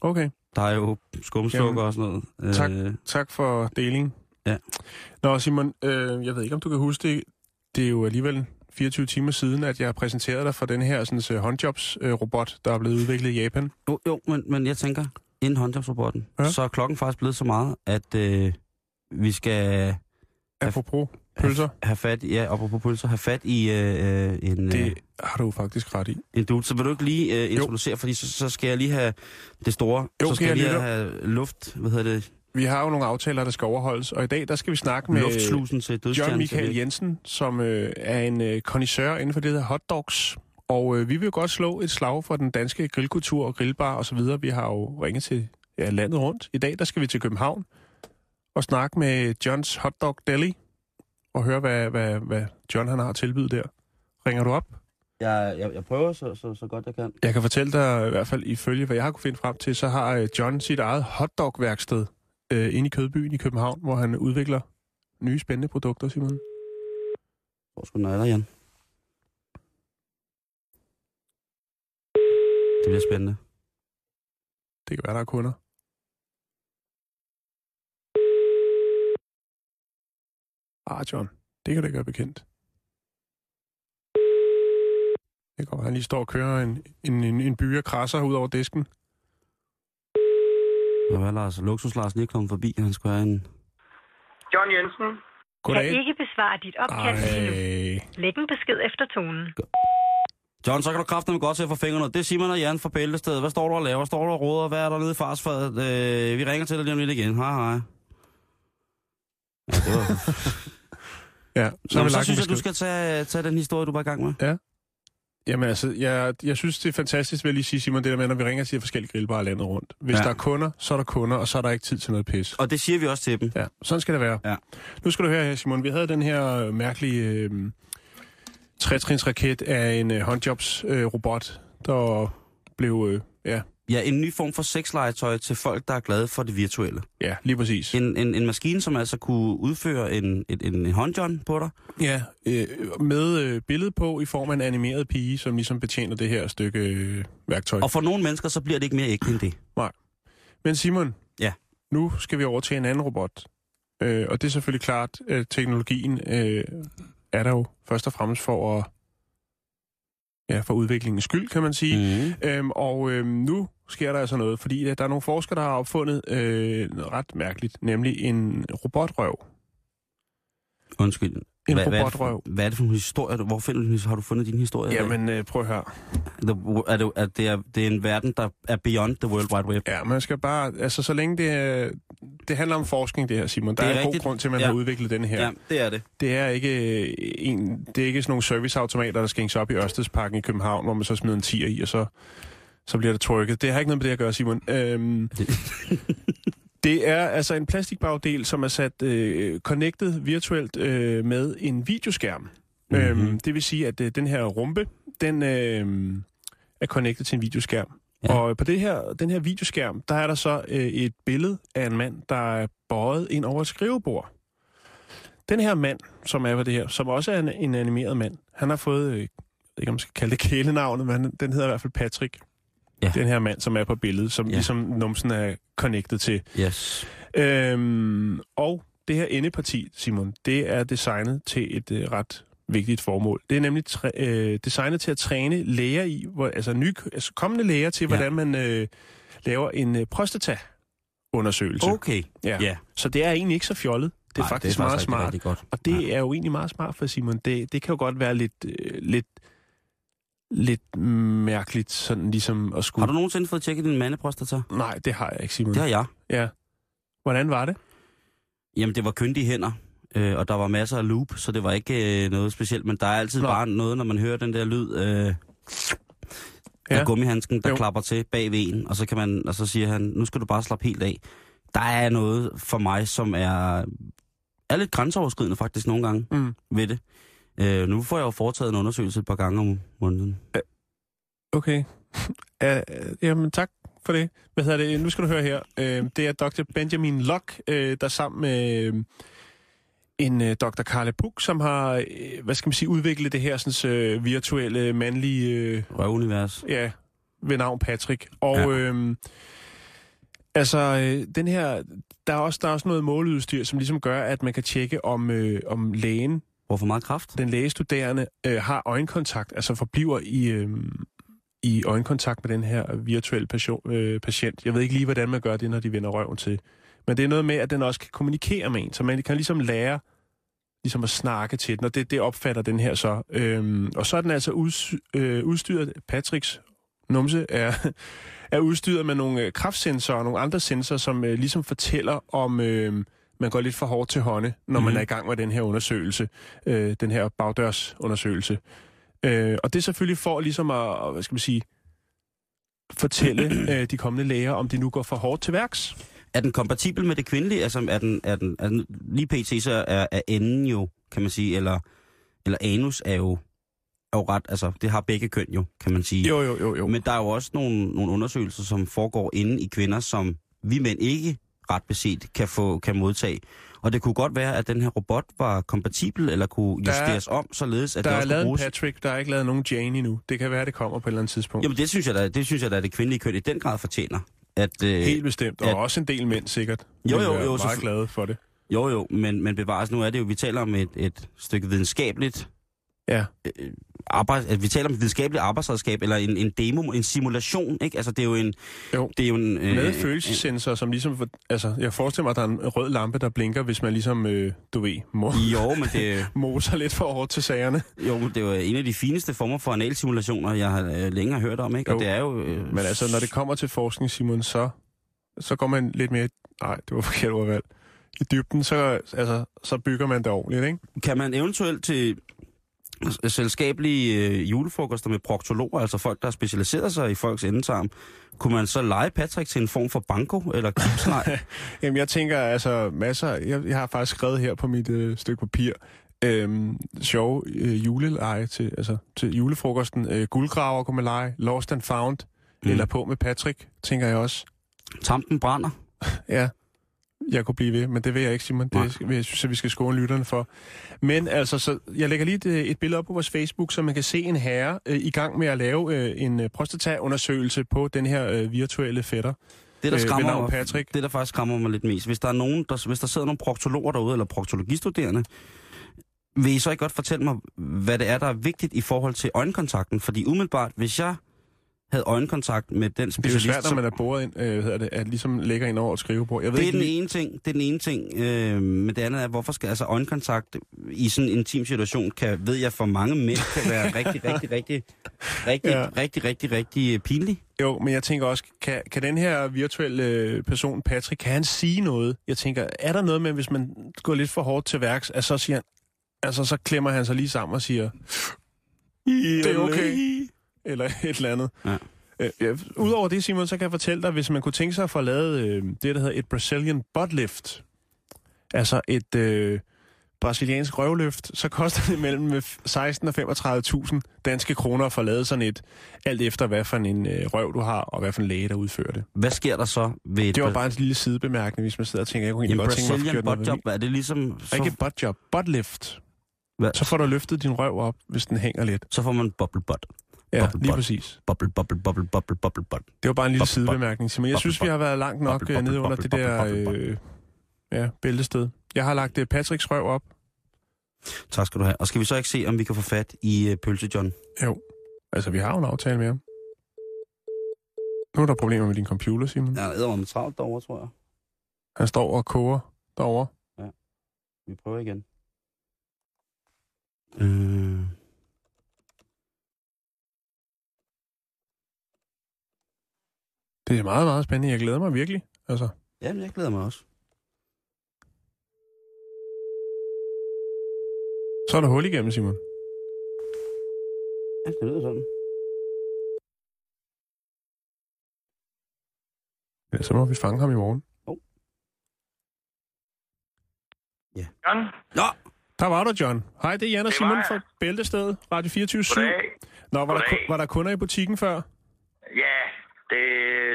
Okay. Der er jo skumsukker Jamen, og sådan noget. tak. Øh, Tak for delingen. Ja. Nå, Simon, øh, jeg ved ikke, om du kan huske det. Det er jo alligevel 24 timer siden, at jeg præsenterede dig for den her sådan, uh, håndjobs-robot, der er blevet udviklet i Japan. jo, jo men, men jeg tænker, inden håndjobsrobotten, Ja. ja. så er klokken faktisk blevet så meget, at øh, vi skal Apropos pølser. have fat, ja, apropos pølser, have fat i øh, øh, en, øh, Det har du faktisk ret i. en dude. Så vil du ikke lige øh, Jo. introducere, fordi så, så skal jeg lige have det store. Jo, så kan skal jeg lige lytte? have luft, hvad hedder det, Vi har jo nogle aftaler, der skal overholdes, og i dag der skal vi snakke med med luftslusen til dødstjernen. John så Michael det- Jensen, som øh, er en øh, connoisseur inden for det der hotdogs. Og øh, vi vil jo godt slå et slag for den danske grillkultur og grillbar osv. Vi har jo ringet til ja, landet rundt. I dag der skal vi til København og snakke med Johns Hotdog Deli og høre, hvad, hvad, hvad John han har at tilbyde der. Ringer du op? Jeg, jeg, jeg prøver så, så, så godt jeg kan. Jeg kan fortælle dig, i hvert fald ifølge hvad jeg har kunne finde frem til, så har øh, John sit eget hotdog-værksted øh, inde i Kødbyen i København, hvor han udvikler nye spændende produkter, Simon. Hvor skulle den er der, Jan? Det bliver spændende. Det kan være, der er kunder. Ah, John, det kan da ikke være bekendt. Det kommer, han lige står og kører en, en, en, en by og krasser ud over disken. Nå, hvad Lars? Luksus Lars lige kommet forbi, han skulle have en... John Jensen. Goddag. kan ikke besvare dit opkald lige nu. Ej, Læg en besked efter tonen. John, så kan du kræfte mig godt til at få fingrene. Det er Simon og Jan fra Bæltestedet. Hvad står du og laver? Står du og råder? Hvad er der nede i farsfadet? Øh, vi ringer til dig lige om lidt igen. Hej, hej. Ja, det var... ja, så, Nå, så, har men vi så lagt synes jeg, en du skal... skal tage, tage den historie, du var i gang med. Jamen altså, jeg, jeg synes, det er fantastisk, vil jeg lige sige, Simon, det der med, når vi ringer til forskellige grillbarer landet rundt. Hvis Ja. ja. der er kunder, så er der kunder, og så er der ikke tid til noget pis. Og det siger vi også til dem. Ja, sådan skal det være. Ja. Nu skal du høre her, Simon. Vi havde den her øh, mærkelige øh, trætrinsraket af en øh, håndjobs-robot, øh, robot, der blev... Øh, ja, Ja, en ny form for sexlegetøj til folk, der er glade for det virtuelle. ja, lige præcis. En, en, en maskine, som altså kunne udføre en, en, en, en håndjohn på dig. Ja, øh, med øh, billede på i form af en animeret pige, som ligesom betjener det her stykke øh, værktøj. Og for nogle mennesker, så bliver det ikke mere ægte end det. Men Simon, Ja. nu skal vi over til en anden robot. Øh, og det er selvfølgelig klart, at teknologien øh, er der jo først og fremmest for at... Ja, for udviklingens skyld, kan man sige. Mm. Øhm, og øhm, nu sker der altså noget, fordi at der er nogle forskere, der har opfundet øh, noget ret mærkeligt, nemlig en robotrøv. Undskyld. En Hvad- hvad er det for- robotrøv. Hvad er det for en historie? du- Hvor finder, du- har du fundet din historie? af? Jamen, øh, prøv at høre. The- Er det, er det, er, det er en verden, der er beyond the World Wide Web. Ja, man skal bare... Altså, så længe det... er- Det handler om forskning, det her, Simon. Der Det det er er, en rigtigt. god grund til, at man Ja. ja. har udviklet den her. Ja. det er det. Det er ikke øh, en, det er ikke sådan nogle serviceautomater, der skænges op i Ørstedsparken i København, hvor man så smider en 10'er i, og så, så bliver det trykket. Det har ikke noget med det at gøre, Simon. Øhm, Det er altså en plastikbagdel, som er sat øh, connected virtuelt øh, med en videoskærm. Mm-hmm. Øhm, det vil sige, at øh, den her rumpe, den øh, er connected til en videoskærm. Ja. Ja. Og på det her, den her videoskærm, der er der så øh, et billede af en mand, der er bøjet ind over et skrivebord. Den her mand, som er på det her, som også er en, en animeret mand, han har fået, øh, jeg ved ikke om man skal kalde det kælenavnet, men han- den hedder i hvert fald Patrick. Ja. Den her mand, som er på billedet, som Ja. ja. ligesom numsen er connected til. Yes. Øhm, og det her endeparti, Simon, det er designet til et øh, ret vigtigt formål. Det er nemlig træ, øh, designet til at træne læger i, hvor, altså, nye, altså kommende læger til, Ja. hvordan man øh, laver en øh, prostata-undersøgelse. Okay. Ja. ja. Så det er egentlig ikke så fjollet. Det Oh. er, Nej, faktisk, meget rigtig, smart. Rigtig godt. Og det Ja. ja. er jo egentlig meget smart for Simon. Det, det kan jo godt være lidt, øh, lidt, lidt mærkeligt, sådan ligesom at skulle... Har du nogensinde fået tjekket din mandeprostata? Nej, det har jeg ikke, Simon. Det har jeg. Ja. Hvordan var det? Jamen, det var køndige hænder, øh, og der var masser af loop, så det var ikke øh, noget specielt. Men der er altid Nå. Nå. bare noget, når man hører den der lyd øh, ja. Ja. af gummihandsken, der Jo. jo. klapper til bag ved en. Og så, kan man, og så siger han, nu skal du bare slappe helt af. Der er noget for mig, som er, er lidt grænseoverskridende faktisk nogle gange Mm. ved det. Øh, nu får jeg jo foretaget en undersøgelse et par gange om måneden. Okay. Ja, øh, Jamen, tak for det. Hvad hedder det? Nu skal du høre her. Øh, Det er Dr. Benjamin Locke, øh, der sammen med øh, en øh, Dr. Karle Puk, som har, øh, hvad skal man sige, udviklet det her sådan, øh, virtuelle mandlige... øh, Røvunivers. ja, ved navn Patrick. Og ja. Ja. øhm, altså, øh, den her, der er, også, der er også noget måleudstyr, som ligesom gør, at man kan tjekke, om, øh, om lægen, Hvorfor meget kraft? den lægestuderende, øh, har øjenkontakt, altså forbliver i, øh, i øjenkontakt med den her virtuelle patient, øh, patient. Jeg ved ikke lige, hvordan man gør det, når de vender røven til. Men det er noget med, at den også kan kommunikere med en, så man kan ligesom lære ligesom at snakke til den, og det, det opfatter den her så. Øhm, og så er den altså uds, øh, udstyret, Patricks numse er, er udstyret med nogle øh, kraftsensorer og nogle andre sensorer, som øh, ligesom fortæller om, øh, man går lidt for hårdt til hånde, når mm-hmm. man Mhm. er i gang med den her undersøgelse, øh, den her bagdørsundersøgelse. Øh, og det er selvfølgelig for ligesom at, at, hvad skal man sige, fortælle øh, de kommende læger, om de nu går for hårdt til værks. Er den kompatibel med det kvindelige? Altså, er den, er den, er den lige pt. så er, er enden jo, kan man sige, eller, eller anus er jo, er jo ret, altså, det har begge køn jo, kan man sige. Jo, jo, jo, jo. Men der er jo også nogle, nogle undersøgelser, som foregår inde i kvinder, som vi mænd ikke ret beset kan, få, kan modtage. Og det kunne godt være, at den her robot var kompatibel, eller kunne Der er- justeres om, således at der det er også kunne lavet en bruges. Patrick, der er ikke lavet nogen Jane endnu. Det kan være, det kommer på et eller andet tidspunkt. Jamen, Jamen, det synes jeg da, det synes jeg da, at det kvindelige køn i den grad fortjener. At, øh, Helt bestemt, og ja. også en del mænd sikkert. Jo, vil jo, være jo, meget selvfølgelig. glade for det. Jo, jo, men, men bevares, nu er det jo, vi taler om et, et stykke videnskabeligt Ja. øh, arbejde, at vi taler om et videnskabeligt arbejdsredskab, eller en, en demo, en simulation, ikke? Altså, det er jo en... Jo. Det er jo en øh, Med en- følelsessensor, som ligesom... for- Altså, jeg forestiller mig, at der er en rød lampe, der blinker, hvis man ligesom, øh, du ved, må, Jo, men det, moser lidt for hårdt til sagerne. jo, men det er jo en af de fineste former for analsimulationer, jeg har øh, længe har hørt om, ikke? Og Jo. det er jo... Øh, Men altså, når det kommer til forskning, Simon, så, så går man lidt mere... Nej, det var forkert ordvalg. I dybden, så, altså, så bygger man det ordentligt, ikke? Kan man eventuelt til s- selskabelige øh, julefrokoster med proktologer, altså folk, der har specialiseret sig i folks endetarm, kunne man så lege Patrick til en form for banko eller kipsleg? Jamen, jeg tænker altså masser... Jeg, jeg har faktisk skrevet her på mit øh, stykke papir, øhm, sjove øh, juleleje til, altså, til julefrokosten. Øh, guldgraver kunne man lege, Lost and Found, mm. Mm. eller på med Patrick, tænker jeg også. Tampen brænder. Ja, jeg kunne blive ved, men det vil jeg ikke, Simon. Nej. Det vil jeg synes, at vi skal skåne lytterne for. Men altså, så jeg lægger lige et, øh, et billede op på vores Facebook, så man kan se en herre øh, i gang med at lave øh, en øh, prostataundersøgelse på den her øh, virtuelle fætter. Det, der Øh, ved skræmmer navn mig, Patrick. det, der faktisk skræmmer mig lidt mest, hvis der, er nogen, der, hvis der sidder nogle proktologer derude, eller proktologistuderende, vil I så ikke godt fortælle mig, hvad det er, der er vigtigt i forhold til øjenkontakten? Fordi umiddelbart, hvis jeg havde øjenkontakt med den Det er jo ligesom- specialist... svært, når som- man er boret ind, øh, hvad hedder det, at ligesom lægger ind over et skrivebord. Jeg ved det er ikke, den lige- ene ting, det er den ene ting, øh, men det andet er, hvorfor skal altså øjenkontakt i sådan en intim situation, kan, ved jeg for mange mænd, kan være rigtig, rigtig, rigtig, rigtig, Ja. ja. rigtig, rigtig, rigtig, øh, pinlig. Jo, men jeg tænker også, kan, kan den her virtuelle øh, person, Patrick, kan han sige noget? Jeg tænker, er der noget med, hvis man går lidt for hårdt til værks, at så siger han, altså så klemmer han sig lige sammen og siger, det er okay, eller et eller andet. Ja. Øh, ja, Udover det, Simon, så kan jeg fortælle dig, hvis man kunne tænke sig at få lavet øh, det, der hedder et Brazilian butt lift, altså et øh, brasiliansk røvløft, så koster det mellem 16 og 35.000 danske kroner at få lavet sådan et, alt efter hvad for en øh, røv du har, og hvad for en læge, der udfører det. Hvad sker der så ved et Det var bare en lille sidebemærkning, hvis man sidder og tænker, jeg kunne en egentlig godt tænke mig at få Brazilian gjort noget ved buttjob? Er det ligesom... min- Ikke butt job, butt lift. Hvad? Så får du løftet din røv op, hvis den hænger lidt. så får man bubble butt. Ja, Bubble lige butt. præcis. Bubble, bubble, bubble, bubble, bubble butt. Det var bare en lille Bop, bop. sidebemærkning, Simon. Jeg Bop, synes, bop. vi har været langt nok Bop, bop, øh, nede bop, under bop, det bop, bop, der bop. øh, Ja, bæltested. Jeg har lagt øh, Patricks røv op. Tak skal du have. Og skal vi så ikke se, om vi kan få fat i øh, Pølse John? Jo. Altså, vi har jo en aftale med ham. Nu er der problemer med din computer, Simon. Ja. Jeg er med travlt derovre, tror jeg. Han står og koger derovre. Vi prøver igen. Øh. Det er meget, meget spændende. Jeg glæder mig virkelig. Altså, Jamen, jeg glæder mig også. så er der hul igennem, Simon. Ja, det lyder sådan. Ja, så må vi fange ham i morgen. John, Nå, Der var du, John. Hej, det er Jan og Det Simon var jeg. fra Bæltestedet, Radio 24 7 goddag. Nå, var der, Goddag. ku- var der kunder i butikken før? Ja, det,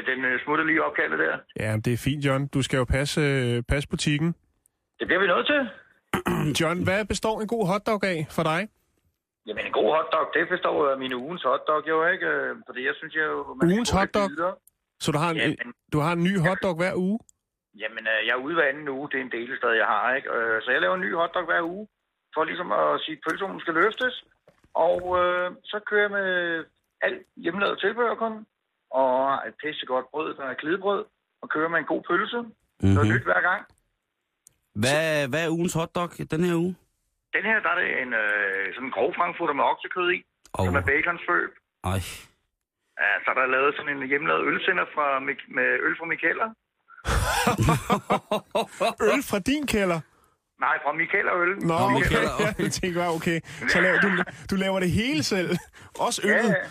den øh, smutter lige opkaldet der. Ja, men det er fint, John. Du skal jo passe, øh, passe butikken. Det bliver vi nødt til. John, hvad består en god hotdog af for dig? Jamen, en god hotdog, det forstår jeg af min ugens hotdog jo, ikke? Øh, Fordi jeg synes jo... Man Ugens skal gå lidt hotdog? videre. Så du har en, Jamen. øh, du har en ny hotdog hver uge? Jamen, øh, jeg er ude hver anden uge. Det er en delestad, jeg har, ikke? Øh, Så jeg laver en ny hotdog hver uge, for ligesom at sige, at pølsehummen skal løftes. Og øh, så kører jeg med alt hjemmelavet tilbehør kun, og et pissegodt brød, der er klidebrød, og kører med en god pølse. Mm-hmm. Noget Mhm. nyt hver gang. hvad, hvad er ugens hotdog den her uge? Den her, der er det en øh, sådan en grov frankfurter med oksekød i, oh. Åh, som er baconsvøb. Ej, Ja, så er der lavet sådan en hjemmelavet ølsender fra, Mik- med øl fra Mikeller. Øl fra din kælder? Nej, fra Mikeller Øl. Nå, Nå, okay. Michael, okay. Jeg tænkte bare, okay. Så laver, du, du laver det hele selv. Også Ja, øllet. ja.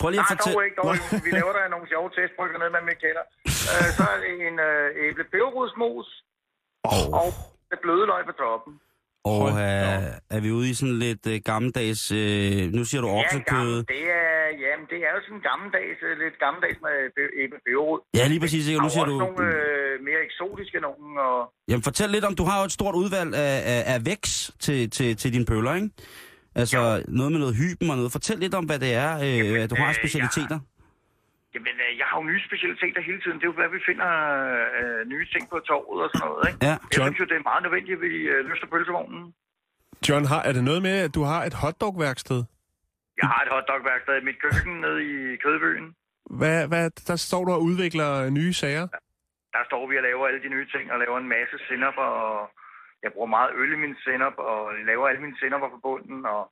prøv lige Nej, at fortælle... dog ikke, dog ikke. Vi laver der nogle sjove testbrygger ned med Mikaela. Øh, så er det en øh, æblepeberrodsmos og det bløde løg på droppen. Og Hold er, er vi ude i sådan lidt øh, gammeldags... Øh, nu siger du oksekød. gammel, det er, jamen, det er jo sådan en gammeldags, øh, lidt gammeldags med be- æblepeberrod. Ja, lige præcis. Ikke? Der Nu er jo siger også nogle du... øh, mere eksotiske nogen, og Jamen, fortæl lidt om, du har jo et stort udvalg af, af, af væks til, til, til dine pøller, ikke? Altså, noget med noget hyben og noget. Fortæl lidt om, hvad det er, øh, at du øh, har af jeg- specialiteter. jamen, øh, jeg har jo nye specialiteter hele tiden. Det er jo, hvad vi finder øh, nye ting på torvet og sådan noget, ikke? Ja. Jeg John. synes jo, det er meget nødvendigt, at vi øh, løfter pølsevognen. John, har, er det noget med, at du har et hotdogværksted? Jeg har et hotdogværksted i mit køkken nede i Kødbyen. Hvad, hvad, der står du og udvikler øh, nye sager. der står vi og laver alle de nye ting, og laver en masse sennep, og jeg bruger meget øl i min sennep, og laver alle mine senneper på bunden, og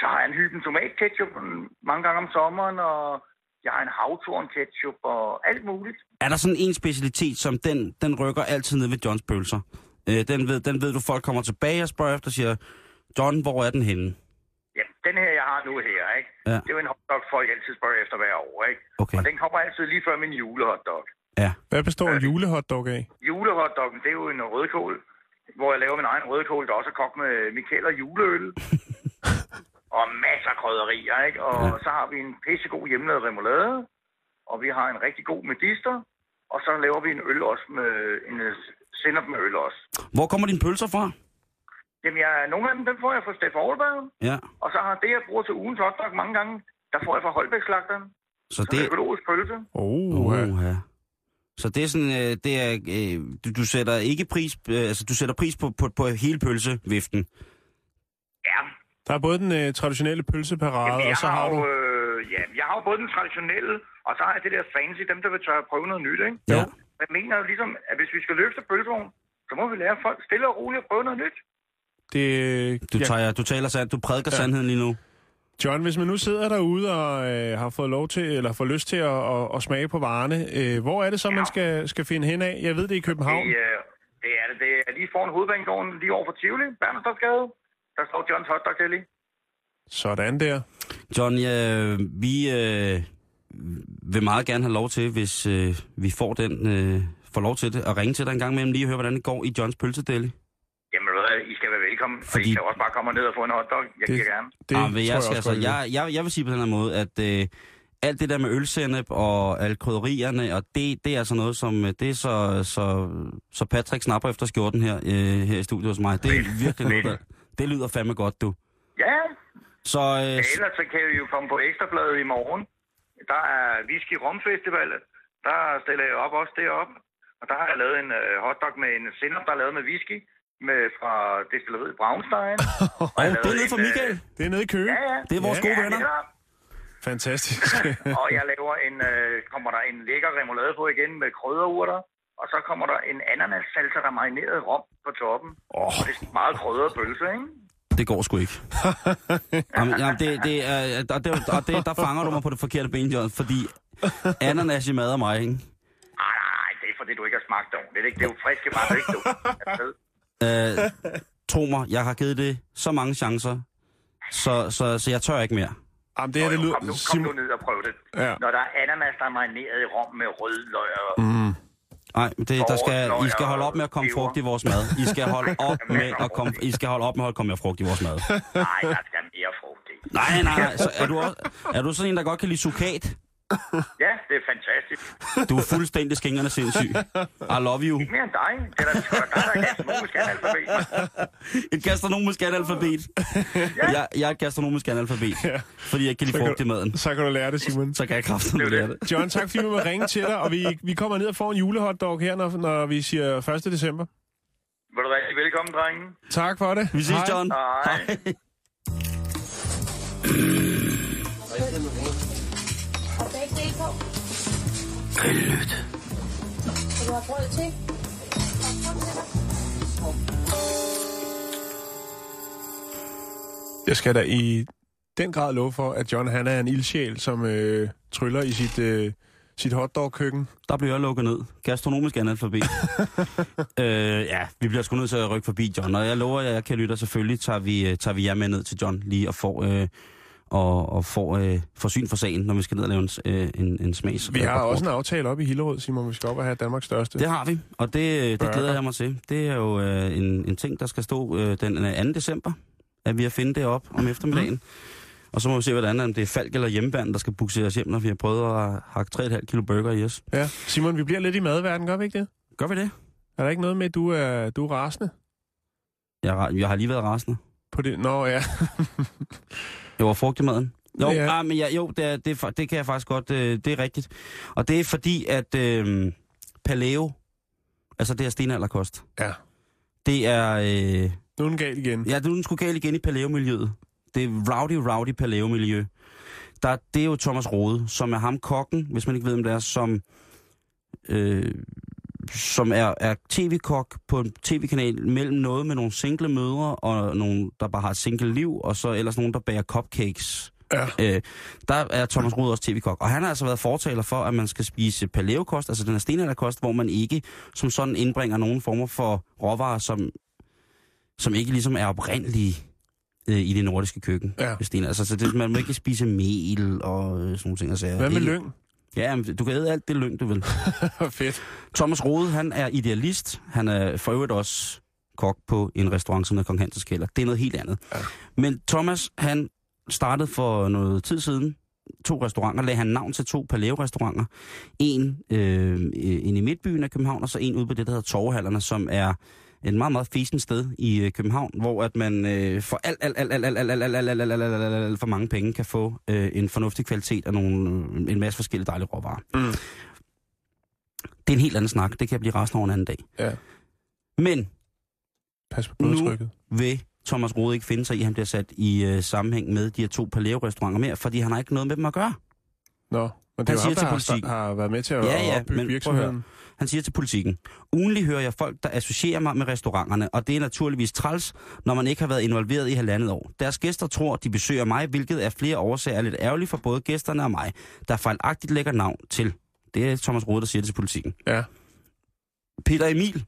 så har jeg en hyben tomatketchup mange gange om sommeren, og jeg har en havtorn ketchup og alt muligt. Er der sådan en specialitet, som den, den rykker altid ned ved Johns pølser? Øh, den, ved, den ved du, folk kommer tilbage og spørger efter og siger, John, hvor er den henne? Ja, den her, jeg har nu her, ikke? Ja. Det er jo en hotdog, folk altid spørger efter hver år, ikke? Okay. Og den kommer altid lige før min julehotdog. Ja. Hvad består en julehotdog af? Julehotdoggen, det er jo en rødkål, hvor jeg laver min egen rødkål, der også er kogt med Michael og juleøl. og masser af krydderier, ikke? Og ja. så har vi en pissegod hjemmelavet remoulade, og vi har en rigtig god medister, og så laver vi en øl også med, en øh, sennep med øl også. Hvor kommer dine pølser fra? Jamen, jeg, nogle af dem, dem får jeg fra Stefan Aalberg, Ja. og så har det, jeg bruger til ugens hotdog mange gange, der får jeg fra Holbæk-slagteren, Så det... det, økologisk pølse. Oh, uh, uh, ja. Så det er sådan, øh, det er, øh, du, du sætter ikke pris, øh, altså du sætter pris på, på, på hele pølseviften. Ja, der er både den øh, traditionelle pølseparade, Jamen, og jeg så har jo, du... Øh, ja, jeg har jo både den traditionelle, og så har jeg det der fancy, dem der vil tør prøve noget nyt, ikke? Ja. Jeg mener jo ligesom, at hvis vi skal løfte pølsevognen, så må vi lære folk stille og roligt at prøve noget nyt. Det, øh, Du, ja, tager, du taler sandt, du prædiker ja. sandheden lige nu. John, hvis man nu sidder derude og øh, har fået lov til, eller får lyst til at, at, at smage på varerne, øh, hvor er det så, man skal, skal finde hen af? Jeg ved det er i København. Det, øh, det, er, det er lige foran hovedbanegården, lige over for Tivoli, Bernerstorpsgade. Der står Johns Hotdog Deli. Sådan der. John, øh, vi øh, vil meget gerne have lov til, hvis øh, vi får den, øh, får lov til det, at ringe til dig en gang imellem lige og høre, hvordan det går i Johns pølsedeli. Jamen, ved du hvad, I skal være velkommen, Fordi... og I Fordi- skal også bare komme ned og få en hotdog. Det- Jeg giver gerne. Det Ah, men jeg, skal, også altså, godt, jeg jeg, jeg, jeg vil sige på den her måde, at øh, alt det der med ølsennep og alle krydderierne, og det, det er altså noget, som øh, det er så, så, så Patrick snapper efter skjorten her, øh, her i studiet hos mig. Det er virkelig noget, der, det lyder fandme godt, du. Ja, Så øh, s- ellers så kan I jo komme på Ekstrabladet i morgen. Der er Whisky Rum Festival. Der stiller jeg op også deroppe. Og der har jeg lavet en øh, hotdog med en sennep, der er lavet med whisky med, fra destilleriet Braunstein. Åh, oh, det er nede fra en, øh, Michael. Det er nede i Køge. Ja, ja. Det er vores Ja. gode Ja, venner. netop. Fantastisk. og jeg laver en, øh, kommer der en lækker remoulade på igen med krydderurter. Og så kommer der en ananas salsa, der er marineret rom på toppen. Åh. Oh. Det er meget krydret pølse, ikke? Det går sgu ikke. jamen, jamen, det, det er, og, det, og det, der fanger du mig på det forkerte ben, Jørgen, fordi ananas i mad og mig, ikke? Nej, nej, nej, det er fordi, du ikke har smagt det ordentligt. Ikke? Det er jo friske varer, det er ikke du. Øh, tro mig, jeg har givet det så mange chancer, så, så, så jeg tør ikke mere. Jamen, det her, det Kom nu, lyder... kom nu Simon, ned og prøv det. Ja. Ja. Når der er ananas, der er marineret i rom med rødløg og Mm. Nej, det, der skal, I skal holde op med at komme Lever. frugt i vores mad. I skal holde op med at komme, I skal holde op med at komme mere frugt i vores mad. Nej, der skal mere frugt i. Nej, nej, nej. Så er, du også, er du sådan en, der godt kan lide sukat? Ja, det er fantastisk. Du er fuldstændig skængerne sindssyg. I love you. Mere end dig. Det er da sgu da dig, der er gastronomisk analfabet. Et gastronomisk analfabet. Jeg, jeg er et gastronomisk analfabet, fordi jeg kan lide kan frugt i maden. så kan du lære det, Simon. Så kan jeg kraftedeme lære det. John, tak fordi vi må ringe til dig, og vi, vi kommer ned og får en julehotdog her, når, når vi siger 1. december. Vil du være velkommen, drenge? Tak for det. Vi ses, Hej. John. Hej. Jeg skal da i den grad love for, at John han er en ildsjæl, som øh, tryller i sit, øh, sit hotdog-køkken. Der blev jeg lukket ned. Gastronomisk analfabet. øh, ja, vi bliver sgu nødt til at rykke forbi John, og jeg lover jer, jeg kan lytte, og selvfølgelig tager vi, øh, tager vi jer med ned til John lige og får... Øh, og, og får, øh, får syn for sagen, når vi skal ned og lave en, s- øh, en, en smags. Vi har rapport. også en aftale op i Hillerød, Simon. Vi skal op og have Danmarks største. Det har vi, og det, øh, det Burger. glæder jeg mig til. Det er jo øh, en, en ting, der skal stå øh, den øh, 2. december, at vi har finde det op om eftermiddagen. Og så må vi se, hvordan om det er Falk eller hjemmebanden, der skal bukse os hjem, når vi har prøvet at hakke 3,5 kilo burger i os. Ja. Simon, vi bliver lidt i madverden, gør vi ikke det? Gør vi det? Er der ikke noget med, at du er, du er rasende? Jeg, er ra- jeg har lige været rasende. På det? Nå, ja. Det var frugt i maden. Jo, Ja. ja. ah, men ja, jo det, er, det, er, fa- det kan jeg faktisk godt, øh, det er rigtigt. Og det er fordi, at øh, paleo, altså det er stenalderkost, Ja. det er... Øh, Nu er den galt igen. Ja, nu er den sgu galt igen i Paleo-miljøet. Det er rowdy, rowdy Paleo-miljø. Der, det er jo Thomas Rode, som er ham kokken, hvis man ikke ved, hvem det er, som, øh, som er, er tv-kok på en tv-kanal mellem noget med nogle single mødre og nogle, der bare har et single liv, og så ellers nogen, der bager cupcakes. Ja. Øh, der er Thomas Rode også tv-kok, og han har altså været fortaler for, at man skal spise paleokost, altså den her stenalderkost, hvor man ikke som sådan indbringer nogen former for råvarer, som som ikke ligesom er oprindelige øh, i det nordiske køkken. Ja. hvis det er- Altså, så det, man må ikke spise mel og øh, sådan nogle ting. Altså, Hvad med lyng? Ja, men du kan æde alt det lyng, du vil. Fedt. Thomas Rode, han er idealist. Han er for øvrigt også kok på en restaurant, som hedder Kong Hansens Kælder. Det er noget helt andet. Ja. Men Thomas, han startede for noget tid siden to restauranter, lagde han navn til to Paleo-restauranter. En, øh, en i midtbyen af København, og så en ude på det, der hedder Torvehallerne, som er et meget, meget fesen sted i øh, København, hvor at man øh, for alt, alt, alt, alt, alt, alt, alt, alt, alt, alt, alt, alt, alt, alt, alt, alt for mange penge kan få øh, en fornuftig kvalitet og nogle, en masse forskellige dejlige råvarer. Mm. Det er en helt anden snak. Det kan jeg blive resten over en anden dag. Ja. Men Pas på Nu- blodtrykket. vil Thomas Rode ikke finde sig i, at han bliver sat i øh, sammenhæng med de her to Paleo-restauranter mere, fordi han har ikke noget med dem at gøre. Nå, men det er Han jo siger ham, der til har, politikken. har været med til at Ja, ja, opbygge men prøv at virksomheden. Han siger til politikken, ugenlig hører jeg folk, der associerer mig med restauranterne, og det er naturligvis træls, når man ikke har været involveret i halvandet år. Deres gæster tror, de besøger mig, hvilket af flere årsager er lidt ærgerligt for både gæsterne og mig, der fejlagtigt lægger navn til. Det er Thomas Rode, der siger det til politikken. Ja. Peter Emil,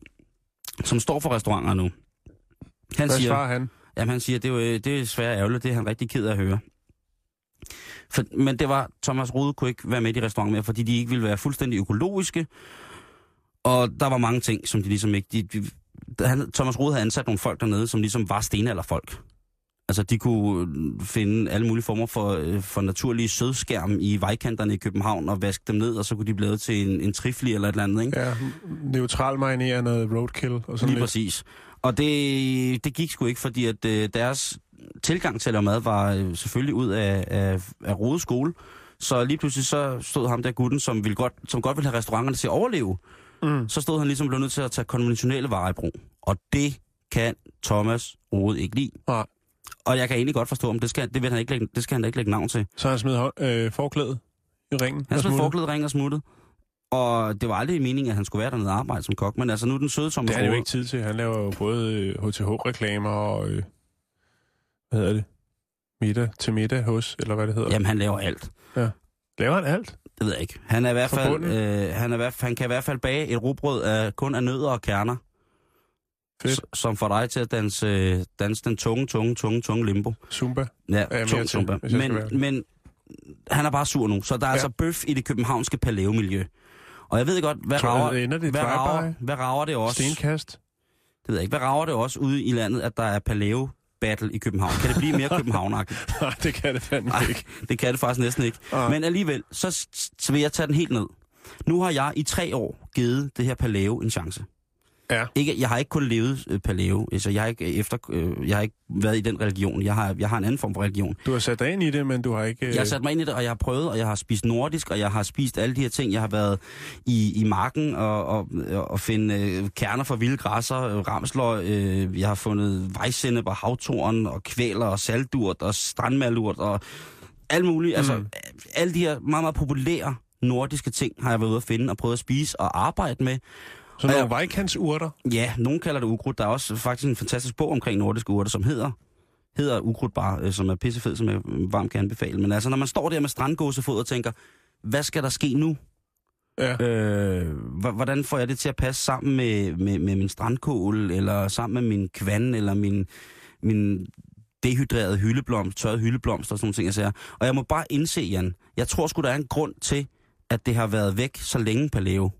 som står for restauranter nu, han Hvad siger... svarer han? Jamen han siger, det er, jo, øh, det er svært ærgerligt, det er han rigtig ked af at høre. For, men det var, Thomas Rode kunne ikke være med i de restauranter mere, fordi de ikke ville være fuldstændig økologiske. Og der var mange ting, som de ligesom ikke... De, de, han, Thomas Rode havde ansat nogle folk dernede, som ligesom var stenalderfolk. Altså, de kunne øh, finde alle mulige former for, øh, for naturlige sødskærm i vejkanterne i København og vaske dem ned, og så kunne de blive lavet til en, en trifli eller et eller andet, ikke? Ja, neutral marinere noget roadkill og Lige sådan lidt. præcis. Og det, det gik sgu ikke, fordi at øh, deres tilgang til at lave mad var øh, selvfølgelig ud af, af, af Rode skole. Så lige pludselig så stod ham der gutten, som, ville godt, som godt ville have restauranterne til at overleve, Mm. så stod han ligesom og blev nødt til at tage konventionelle varer i brug. Og det kan Thomas Rode ikke lide. Nej. Og jeg kan egentlig godt forstå, om det skal, det, vil han ikke lægge, det skal han da ikke lægge navn til. Så han smed hå- øh, forklædet i ringen. Han og smed smuttede. forklædet ring og smuttede. Og det var aldrig meningen, at han skulle være dernede og arbejde som kok. Men altså nu er den søde Thomas Det har han jo Rode- ikke tid til. Han laver jo både øh, HTH-reklamer og... Øh, hvad hedder det? Middag til middag hos, eller hvad det hedder. Jamen han laver alt. Laver han alt? Det ved jeg ikke. Han, er i hvert Fra fald, bunden? øh, han, er i hvert, han kan i hvert fald bage et rugbrød af, kun af nødder og kerner, Fedt. s- som får dig til at danse, øh, danse den tunge, tunge, tunge, tunge limbo. Zumba. Ja, mere tung til, zumba. hvis jeg skal være Men, ærlig. men han er bare sur nu, så der er Ja. ja. altså bøf i det københavnske palæomiljø. Og jeg ved godt, hvad Tror du, rager, ender det i hvad, drive-by? rager, hvad rager det også? Stenkast. Det ved jeg ikke. Hvad rager det også ude i landet, at der er palæo battle i København? Kan det blive mere københavnagtigt? Nej, det kan det fandme Nej, ikke. det kan det faktisk næsten ikke. Nej. Men alligevel, så, s- så vil jeg tage den helt ned. Nu har jeg i tre år givet det her Paleo en chance. Ja. Ikke, jeg har ikke kun levet øh, Paleo, altså jeg har ikke, efter, øh, jeg har ikke været i den religion. Jeg har, jeg har en anden form for religion. Du har sat dig ind i det, men du har ikke... Øh, Jeg har sat mig ind i det, og jeg har prøvet, og jeg har spist nordisk, og jeg har spist alle de her ting. Jeg har været i, i marken og, og, og finde øh, kerner fra vilde græsser, øh, ramsløg. Øh, jeg har fundet vejsennep og havtorn og kvæler og saldurt og strandmalurt og alt muligt. Mm. Altså, alle de her meget, meget populære nordiske ting har jeg været ude at finde og prøvet at spise og arbejde med. sådan nogle vejkantsurter. Ja, nogen kalder det ukrudt. Der er også faktisk en fantastisk bog omkring nordiske urter, som hedder hedder ukrudt bare, øh, som er pissefed, som jeg øh, varmt kan anbefale. Men altså, når man står der med strandgåsefod og tænker, hvad skal der ske nu? Ja. Øh, hv- hvordan får jeg det til at passe sammen med, med, med min strandkål, eller sammen med min kvan, eller min, min dehydrerede hyldeblomst, tørrede hyldeblomst og sådan nogle ting, jeg siger. Og jeg må bare indse, Jan, jeg tror sgu, der er en grund til, at det har været væk så længe, Paleo.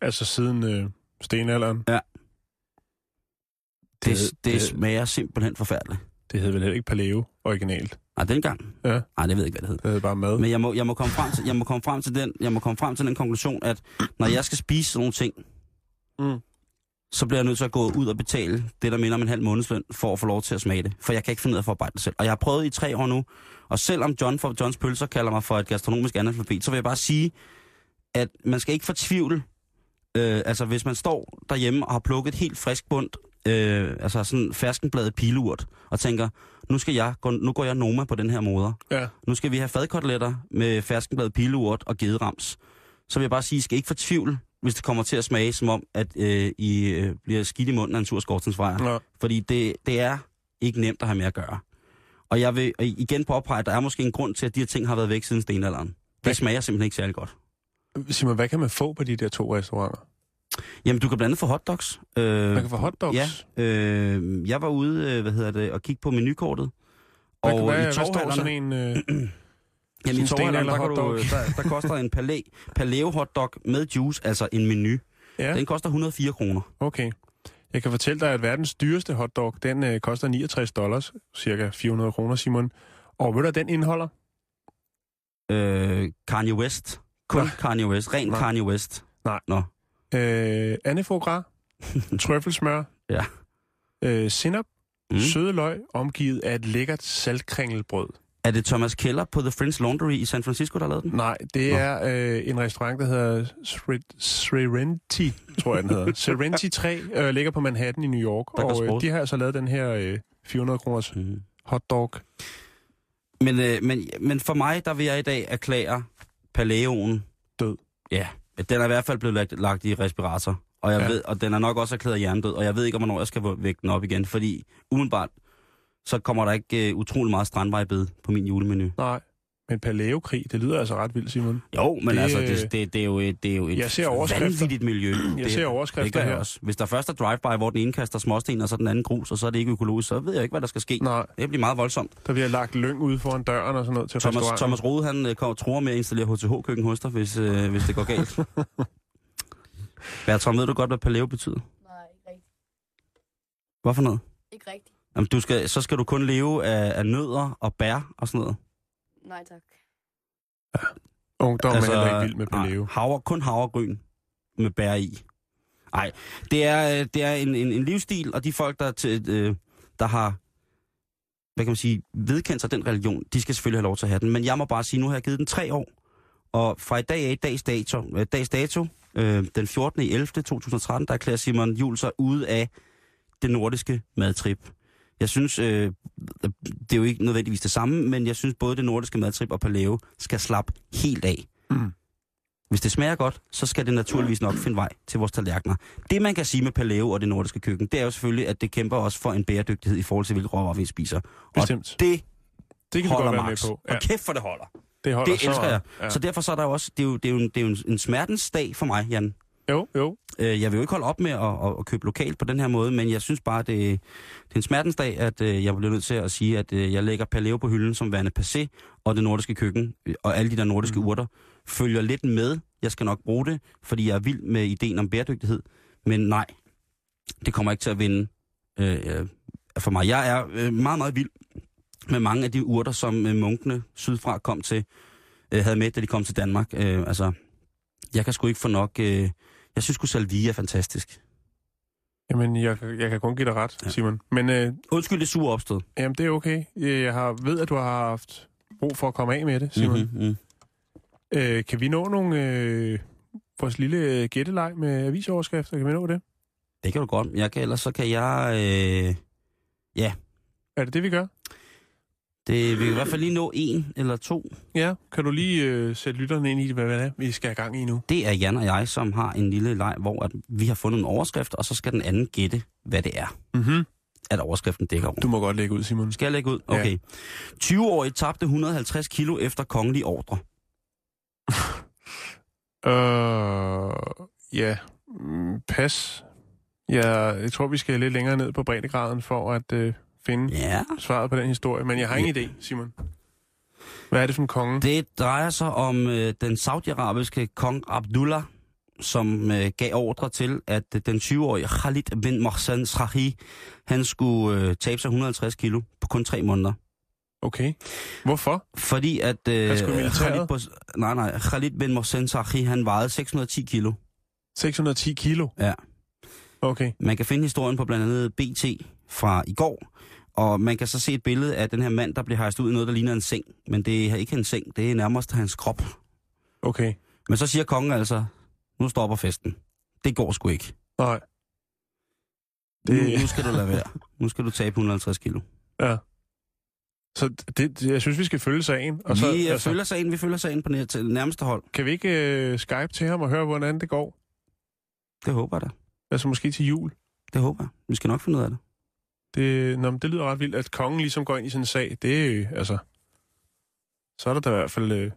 Altså siden øh, stenalderen. Ja. Det, hed- det, det smager simpelthen forfærdeligt. det hed vel heller ikke paleo originalt. Nej, Ah, dengang. Ja. Nej, det ved jeg ikke, hvad det hed. Det hed Øh, bare mad. Men jeg må, jeg må komme frem til, jeg må komme frem til den, jeg må komme frem til den konklusion, at når jeg skal spise sådan nogle ting, Mm. så bliver jeg nødt til at gå ud og betale det, der minder om en halv månedsløn, for at få lov til at smage det. For jeg kan ikke finde ud af at forarbejde det selv. Og jeg har prøvet i tre år nu, og selvom John fra Johns Pølser kalder mig for et gastronomisk analfabet, så vil jeg bare sige, at man skal ikke fortvivle. Øh, altså, hvis man står derhjemme og har plukket helt frisk bundt, øh, altså sådan ferskenbladet pileurt, og tænker, nu, skal jeg, gå- nu går jeg Noma på den her moder. Ja. Nu skal vi have fadkoteletter med ferskenblad, pileurt og gederams. Så vil jeg bare sige, I skal ikke fortvivle, hvis det kommer til at smage som om, at øh, I øh, bliver skidt i munden af en sur skorstensfejr. Nå. Fordi det, det er ikke nemt at have med at gøre. Og jeg vil og igen påpege, at der er måske en grund til, at de her ting har været væk siden stenalderen. Hvad- Det smager simpelthen ikke særlig godt. Simon, hvad kan man få på de der to restauranter? Jamen, du kan blandt andet få hotdogs. Øh, Man kan få hotdogs. Ja, øh, jeg var ude, øh, hvad hedder det, og kigge på menukortet. Hvad, og hvad, hvad står torvhallerne- sådan en... Øh, Jamen i Sådan en Torhalland, der, kan stenalderhotdog. du, der, der koster en palæ, paleo hotdog med juice, altså en menu. ja, Ja. Den koster 104 kroner. okay. Jeg kan fortælle dig, at verdens dyreste hotdog, den øh, koster 69 dollars, cirka 400 kroner, Simon. Og ved du, hvad den indeholder? Øh, Kanye West. Kun Nå. Nå. Kanye West. Ren Nå. Nå. Kanye West. Nej. Nå. Øh, anefogras, trøffelsmør, Ja. øh, sinap, Mm. mm. søde løg, omgivet af et lækkert saltkringelbrød. Er det Thomas Keller på The French Laundry i San Francisco, der har lavet den? Nej, det Nå. er øh, en restaurant, der hedder Sre- Serenity, tror jeg den hedder. Serenity 3 øh, ligger på Manhattan i New York, Der går og øh, sport. de har altså lavet den her øh, 400 kroners Mm. hotdog. Men, øh, men, men for mig, der vil jeg i dag erklære Paleoen Død. Ja, den er i hvert fald blevet lagt, lagt i respirator. Og, jeg Ja. ja. ved, og den er nok også erklæret hjernedød, og jeg ved ikke, om hvornår jeg skal vække den op igen, fordi umiddelbart, så kommer der ikke øh, utrolig meget strandvejbed på min julemenu. Nej, men paleokrig, det lyder altså ret vildt, Simon. Jo, men Det, det, altså, øh, det, det, det, er jo et, det er jo et jeg ser overskrifter. vanvittigt miljø. det, Jeg det ser gør overskrifter jeg her. også. Hvis der først er drive-by, hvor den ene kaster småsten, og så den anden grus, og så er det ikke økologisk, så ved jeg ikke, hvad der skal ske. Nej, Det bliver meget voldsomt. der bliver lagt lyng ude foran døren og sådan noget til Thomas, restauranten. Thomas Rode, han øh, kommer tror med at installere HTH-køkken hos dig, hvis, øh, hvis det går galt. Bertram, ved du godt, hvad paleo betyder? Nej, ikke rigtigt. Hvorfor noget? Ikke rigtigt. Jamen, du skal, så skal du kun leve af, af nødder og bær og sådan noget. Nej, tak. Ungdommen altså, er heller ikke vild med paleo. nej, havre, kun havregryn med bær i. Nej, det er, øh, det er en, en, en livsstil, og de folk, der, er til, øh, der har hvad kan man sige, vedkendt sig den religion, de skal selvfølgelig have lov til at have den. Men jeg må bare sige, nu har jeg givet den tre år, og fra i dag af, dags dato, øh, dags dato Øh, den 14. 11. 2013, der erklærer Simon Jul sig ude af det nordiske madtrip. Jeg synes, øh, det er jo ikke nødvendigvis det samme, men jeg synes både det nordiske madtrip og Paleo skal slappe helt af. Mm. Hvis det smager godt, så skal det naturligvis nok finde vej til vores tallerkener. Det man kan sige med Paleo og det nordiske køkken, det er jo selvfølgelig, at det kæmper også for en bæredygtighed i forhold til, hvilke råvarer vi spiser. Bestemt. Og det, Det kan vi holder godt være Max. med på. Ja, Og kæft for det holder. det holder det så elsker jeg. meget. Ja. Så derfor så er der jo også, det er jo, det er jo, en, det er jo en, en smertens dag for mig, Jan. Ja. Jo, jo. Øh, Jeg vil jo ikke holde op med at, at, at købe lokalt på den her måde, men jeg synes bare, det, det er en smertens dag, at øh, jeg bliver nødt til at sige, at øh, jeg lægger Paleo på hylden som værende passé, og det nordiske køkken, øh, og alle de der nordiske mm. urter, følger lidt med. Jeg skal nok bruge det, fordi jeg er vild med ideen om bæredygtighed, men nej, det kommer ikke til at vinde øh, øh, for mig. Jeg er øh, meget, meget vild med mange af de urter, som øh, munkene sydfra kom til, øh, havde med, da de kom til Danmark. Øh, altså, jeg kan sgu ikke få nok... Øh, jeg synes sgu salvie er fantastisk. Jamen, jeg, jeg kan kun give dig ret, Ja. ja. Simon. Men øh, Undskyld det sure opstød. jamen, det er okay. Jeg har, ved, at du har haft brug for at komme af med det, Simon. Mm-hmm. Mm-hmm. Øh, kan vi nå nogle... Øh, vores lille øh, gætteleg med avisoverskrifter, kan vi nå det? Det kan du godt. Jeg kan, ellers så kan jeg... Øh, Er det det, vi gør? det, vi kan i hvert fald lige nå en eller to. Ja. Kan du lige øh, sætte lytterne ind i, hvad det er, vi skal have gang i nu? Det er Jan og jeg, som har en lille leg, hvor at vi har fundet en overskrift, og så skal den anden gætte, hvad det er, Mm-hmm. at overskriften dækker over. Du må godt lægge ud, Simon. Skal jeg lægge ud? Ja. Okay. 20-årig tabte 150 kilo efter kongelig ordre. Øh, ja, Mm, pas. Jeg, jeg tror, vi skal lidt længere ned på breddegraden for at øh, finde Ja. svaret på den historie, men jeg har ingen idé, Simon. Hvad er det for en konge? Det... Det drejer sig om øh, den saudiarabiske kong Abdullah, som øh, gav ordre til, at øh, den 20-årige Khalid bin Mohsen Srahi, han skulle øh, tabe sig 150 kilo på kun tre måneder. Okay. Hvorfor? Fordi at øh, Han skulle i militæret? Khalid, Bos- nej, nej, Khalid bin Mohsen Srahi, han vejede 610 kilo. 610 kilo? Ja. Okay. Man kan finde historien på blandt andet BT fra i går, og man kan så se et billede af den her mand, der blev hejst ud i noget, der ligner en seng. Men det er ikke en seng, det er nærmest hans krop. Okay. Men så siger kongen altså, nu stopper festen. Det går sgu ikke. Nej. Det... Det- Nu, nu skal du lade være. Nu skal du tabe 150 kilo. Ja. Så det, det- jeg synes, vi skal følge sagen. Og så, vi, altså... altså, følger sagen, vi følger sagen på nær, til nærmeste hold. Kan vi ikke øh, skype til ham og høre, hvordan det går? Det håber jeg da. Altså måske til jul. Det håber jeg. Vi skal nok finde ud af det. Det, nå, men det lyder ret vildt, at kongen ligesom går ind i sådan en sag. Det er øh, altså... Så er der da i hvert fald... Øh,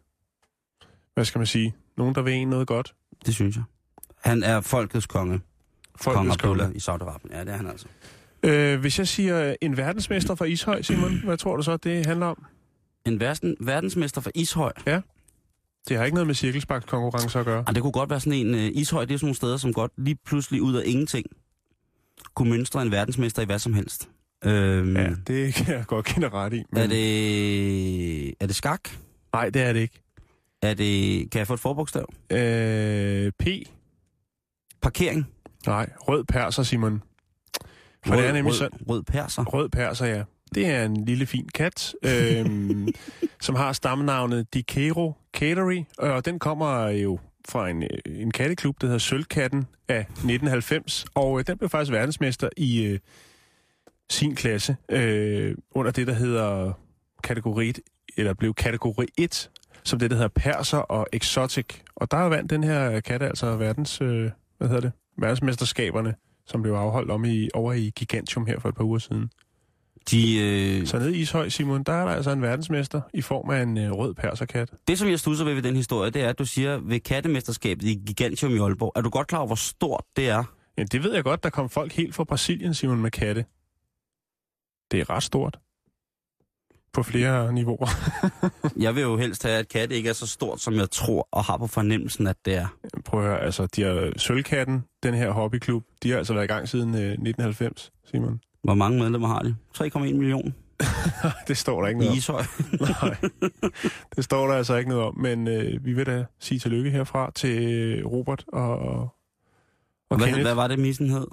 hvad skal man sige? Nogen, der vil en noget godt. Det synes jeg. Han er folkets konge. Folkets Kong Abdullah konge. i Saudi-Arabien. Ja, det er han altså. Øh, hvis jeg siger øh, en verdensmester fra Ishøj, Simon, hvad tror du så, det handler om? En verden, verdensmester for Ishøj. Det har ikke noget med cirkelsbakskonkurrencer at gøre. Ah, det kunne godt være sådan en... Uh, Ishøj, det er sådan nogle steder, som godt lige pludselig ud af ingenting kunne mønstre en verdensmester i hvad som helst. Øhm, Ja, ja. det kan jeg godt kende ret i. Er det, er det skak? Nej, det er det ikke. Er det, kan jeg få et forbogstav? Øh, P. Parkering? Nej, rød perser, Simon. For rød, det er nemlig rød, sådan- Rød perser. Rød perser, ja. Det er en lille fin kat, øhm, som har stammenavnet Dikero Cattery, og den kommer jo fra en, øh, en katteklub, der hedder Sølvkatten af 1990, og øh, den blev faktisk verdensmester i øh, sin klasse øh, under det, der hedder kategori 1, eller blev kategori 1, som det, der hedder perser og exotic. Og der vandt den her kat altså verdens, øh, hvad hedder det, verdensmesterskaberne, som blev afholdt om i, over i Gigantium her for et par uger siden. De, øh, Så nede i Ishøj, Simon, der er der altså en verdensmester i form af en øh, rød perserkat. det, som jeg stusser ved ved den historie, det er, at du siger ved kattemesterskabet i Gigantium i Aalborg. Er du godt klar over, hvor stort det er? Ja, det ved jeg godt, der kom folk helt fra Brasilien, Simon, med katte. Det er ret stort. På flere niveauer. Jeg vil jo helst have, at katte ikke er så stort, som jeg tror og har på fornemmelsen, at det er. Prøv at høre, altså, de har Sølvkatten, den her hobbyklub, de har altså været i gang siden øh, 1990, Simon. Hvor mange medlemmer har de? 3,1 millioner Det står der ikke i noget om. Ishøj. Nej, det står der altså ikke noget om, men øh, vi vil da sige tillykke herfra til øh, Robert og, og, og Hvad, Kenneth. hvad var det, missen hed?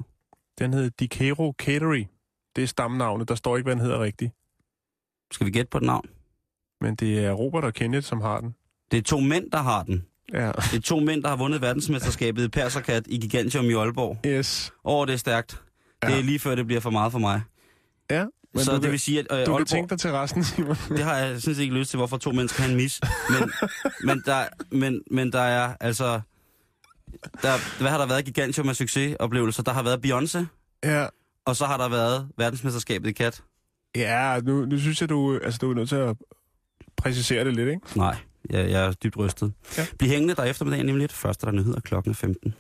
Den hedder Dikero Cattery. Det er stamnavnet, der står ikke, hvad den hedder rigtigt. Skal vi gætte på et navn? Men det er Robert og Kenneth, som har den. Det er to mænd, der har den. Ja. Det er to mænd, der har vundet verdensmesterskabet i perserkat i Gigantium i Aalborg. Yes. Åh, det er stærkt. Det Ja. er lige før, det bliver for meget for mig. Ja. Men så du det kan, vil sige, at øh, du kan Aalborg, tænke dig til resten, Simon. det har jeg synes ikke lyst til, hvorfor to mennesker kan en mis. Men, men, der, men, men der er altså... Der, hvad har der været gigantium af succesoplevelser? Der har været Beyoncé, Ja. og så har der været verdensmesterskabet i kat. Ja, nu, nu synes jeg, du, altså, du er nødt til at præcisere det lidt, ikke? Nej, jeg, jeg er dybt rystet. Ja. Ja. Bliv hængende der er eftermiddagen nemlig lidt. Første der er nyheder klokken er 15.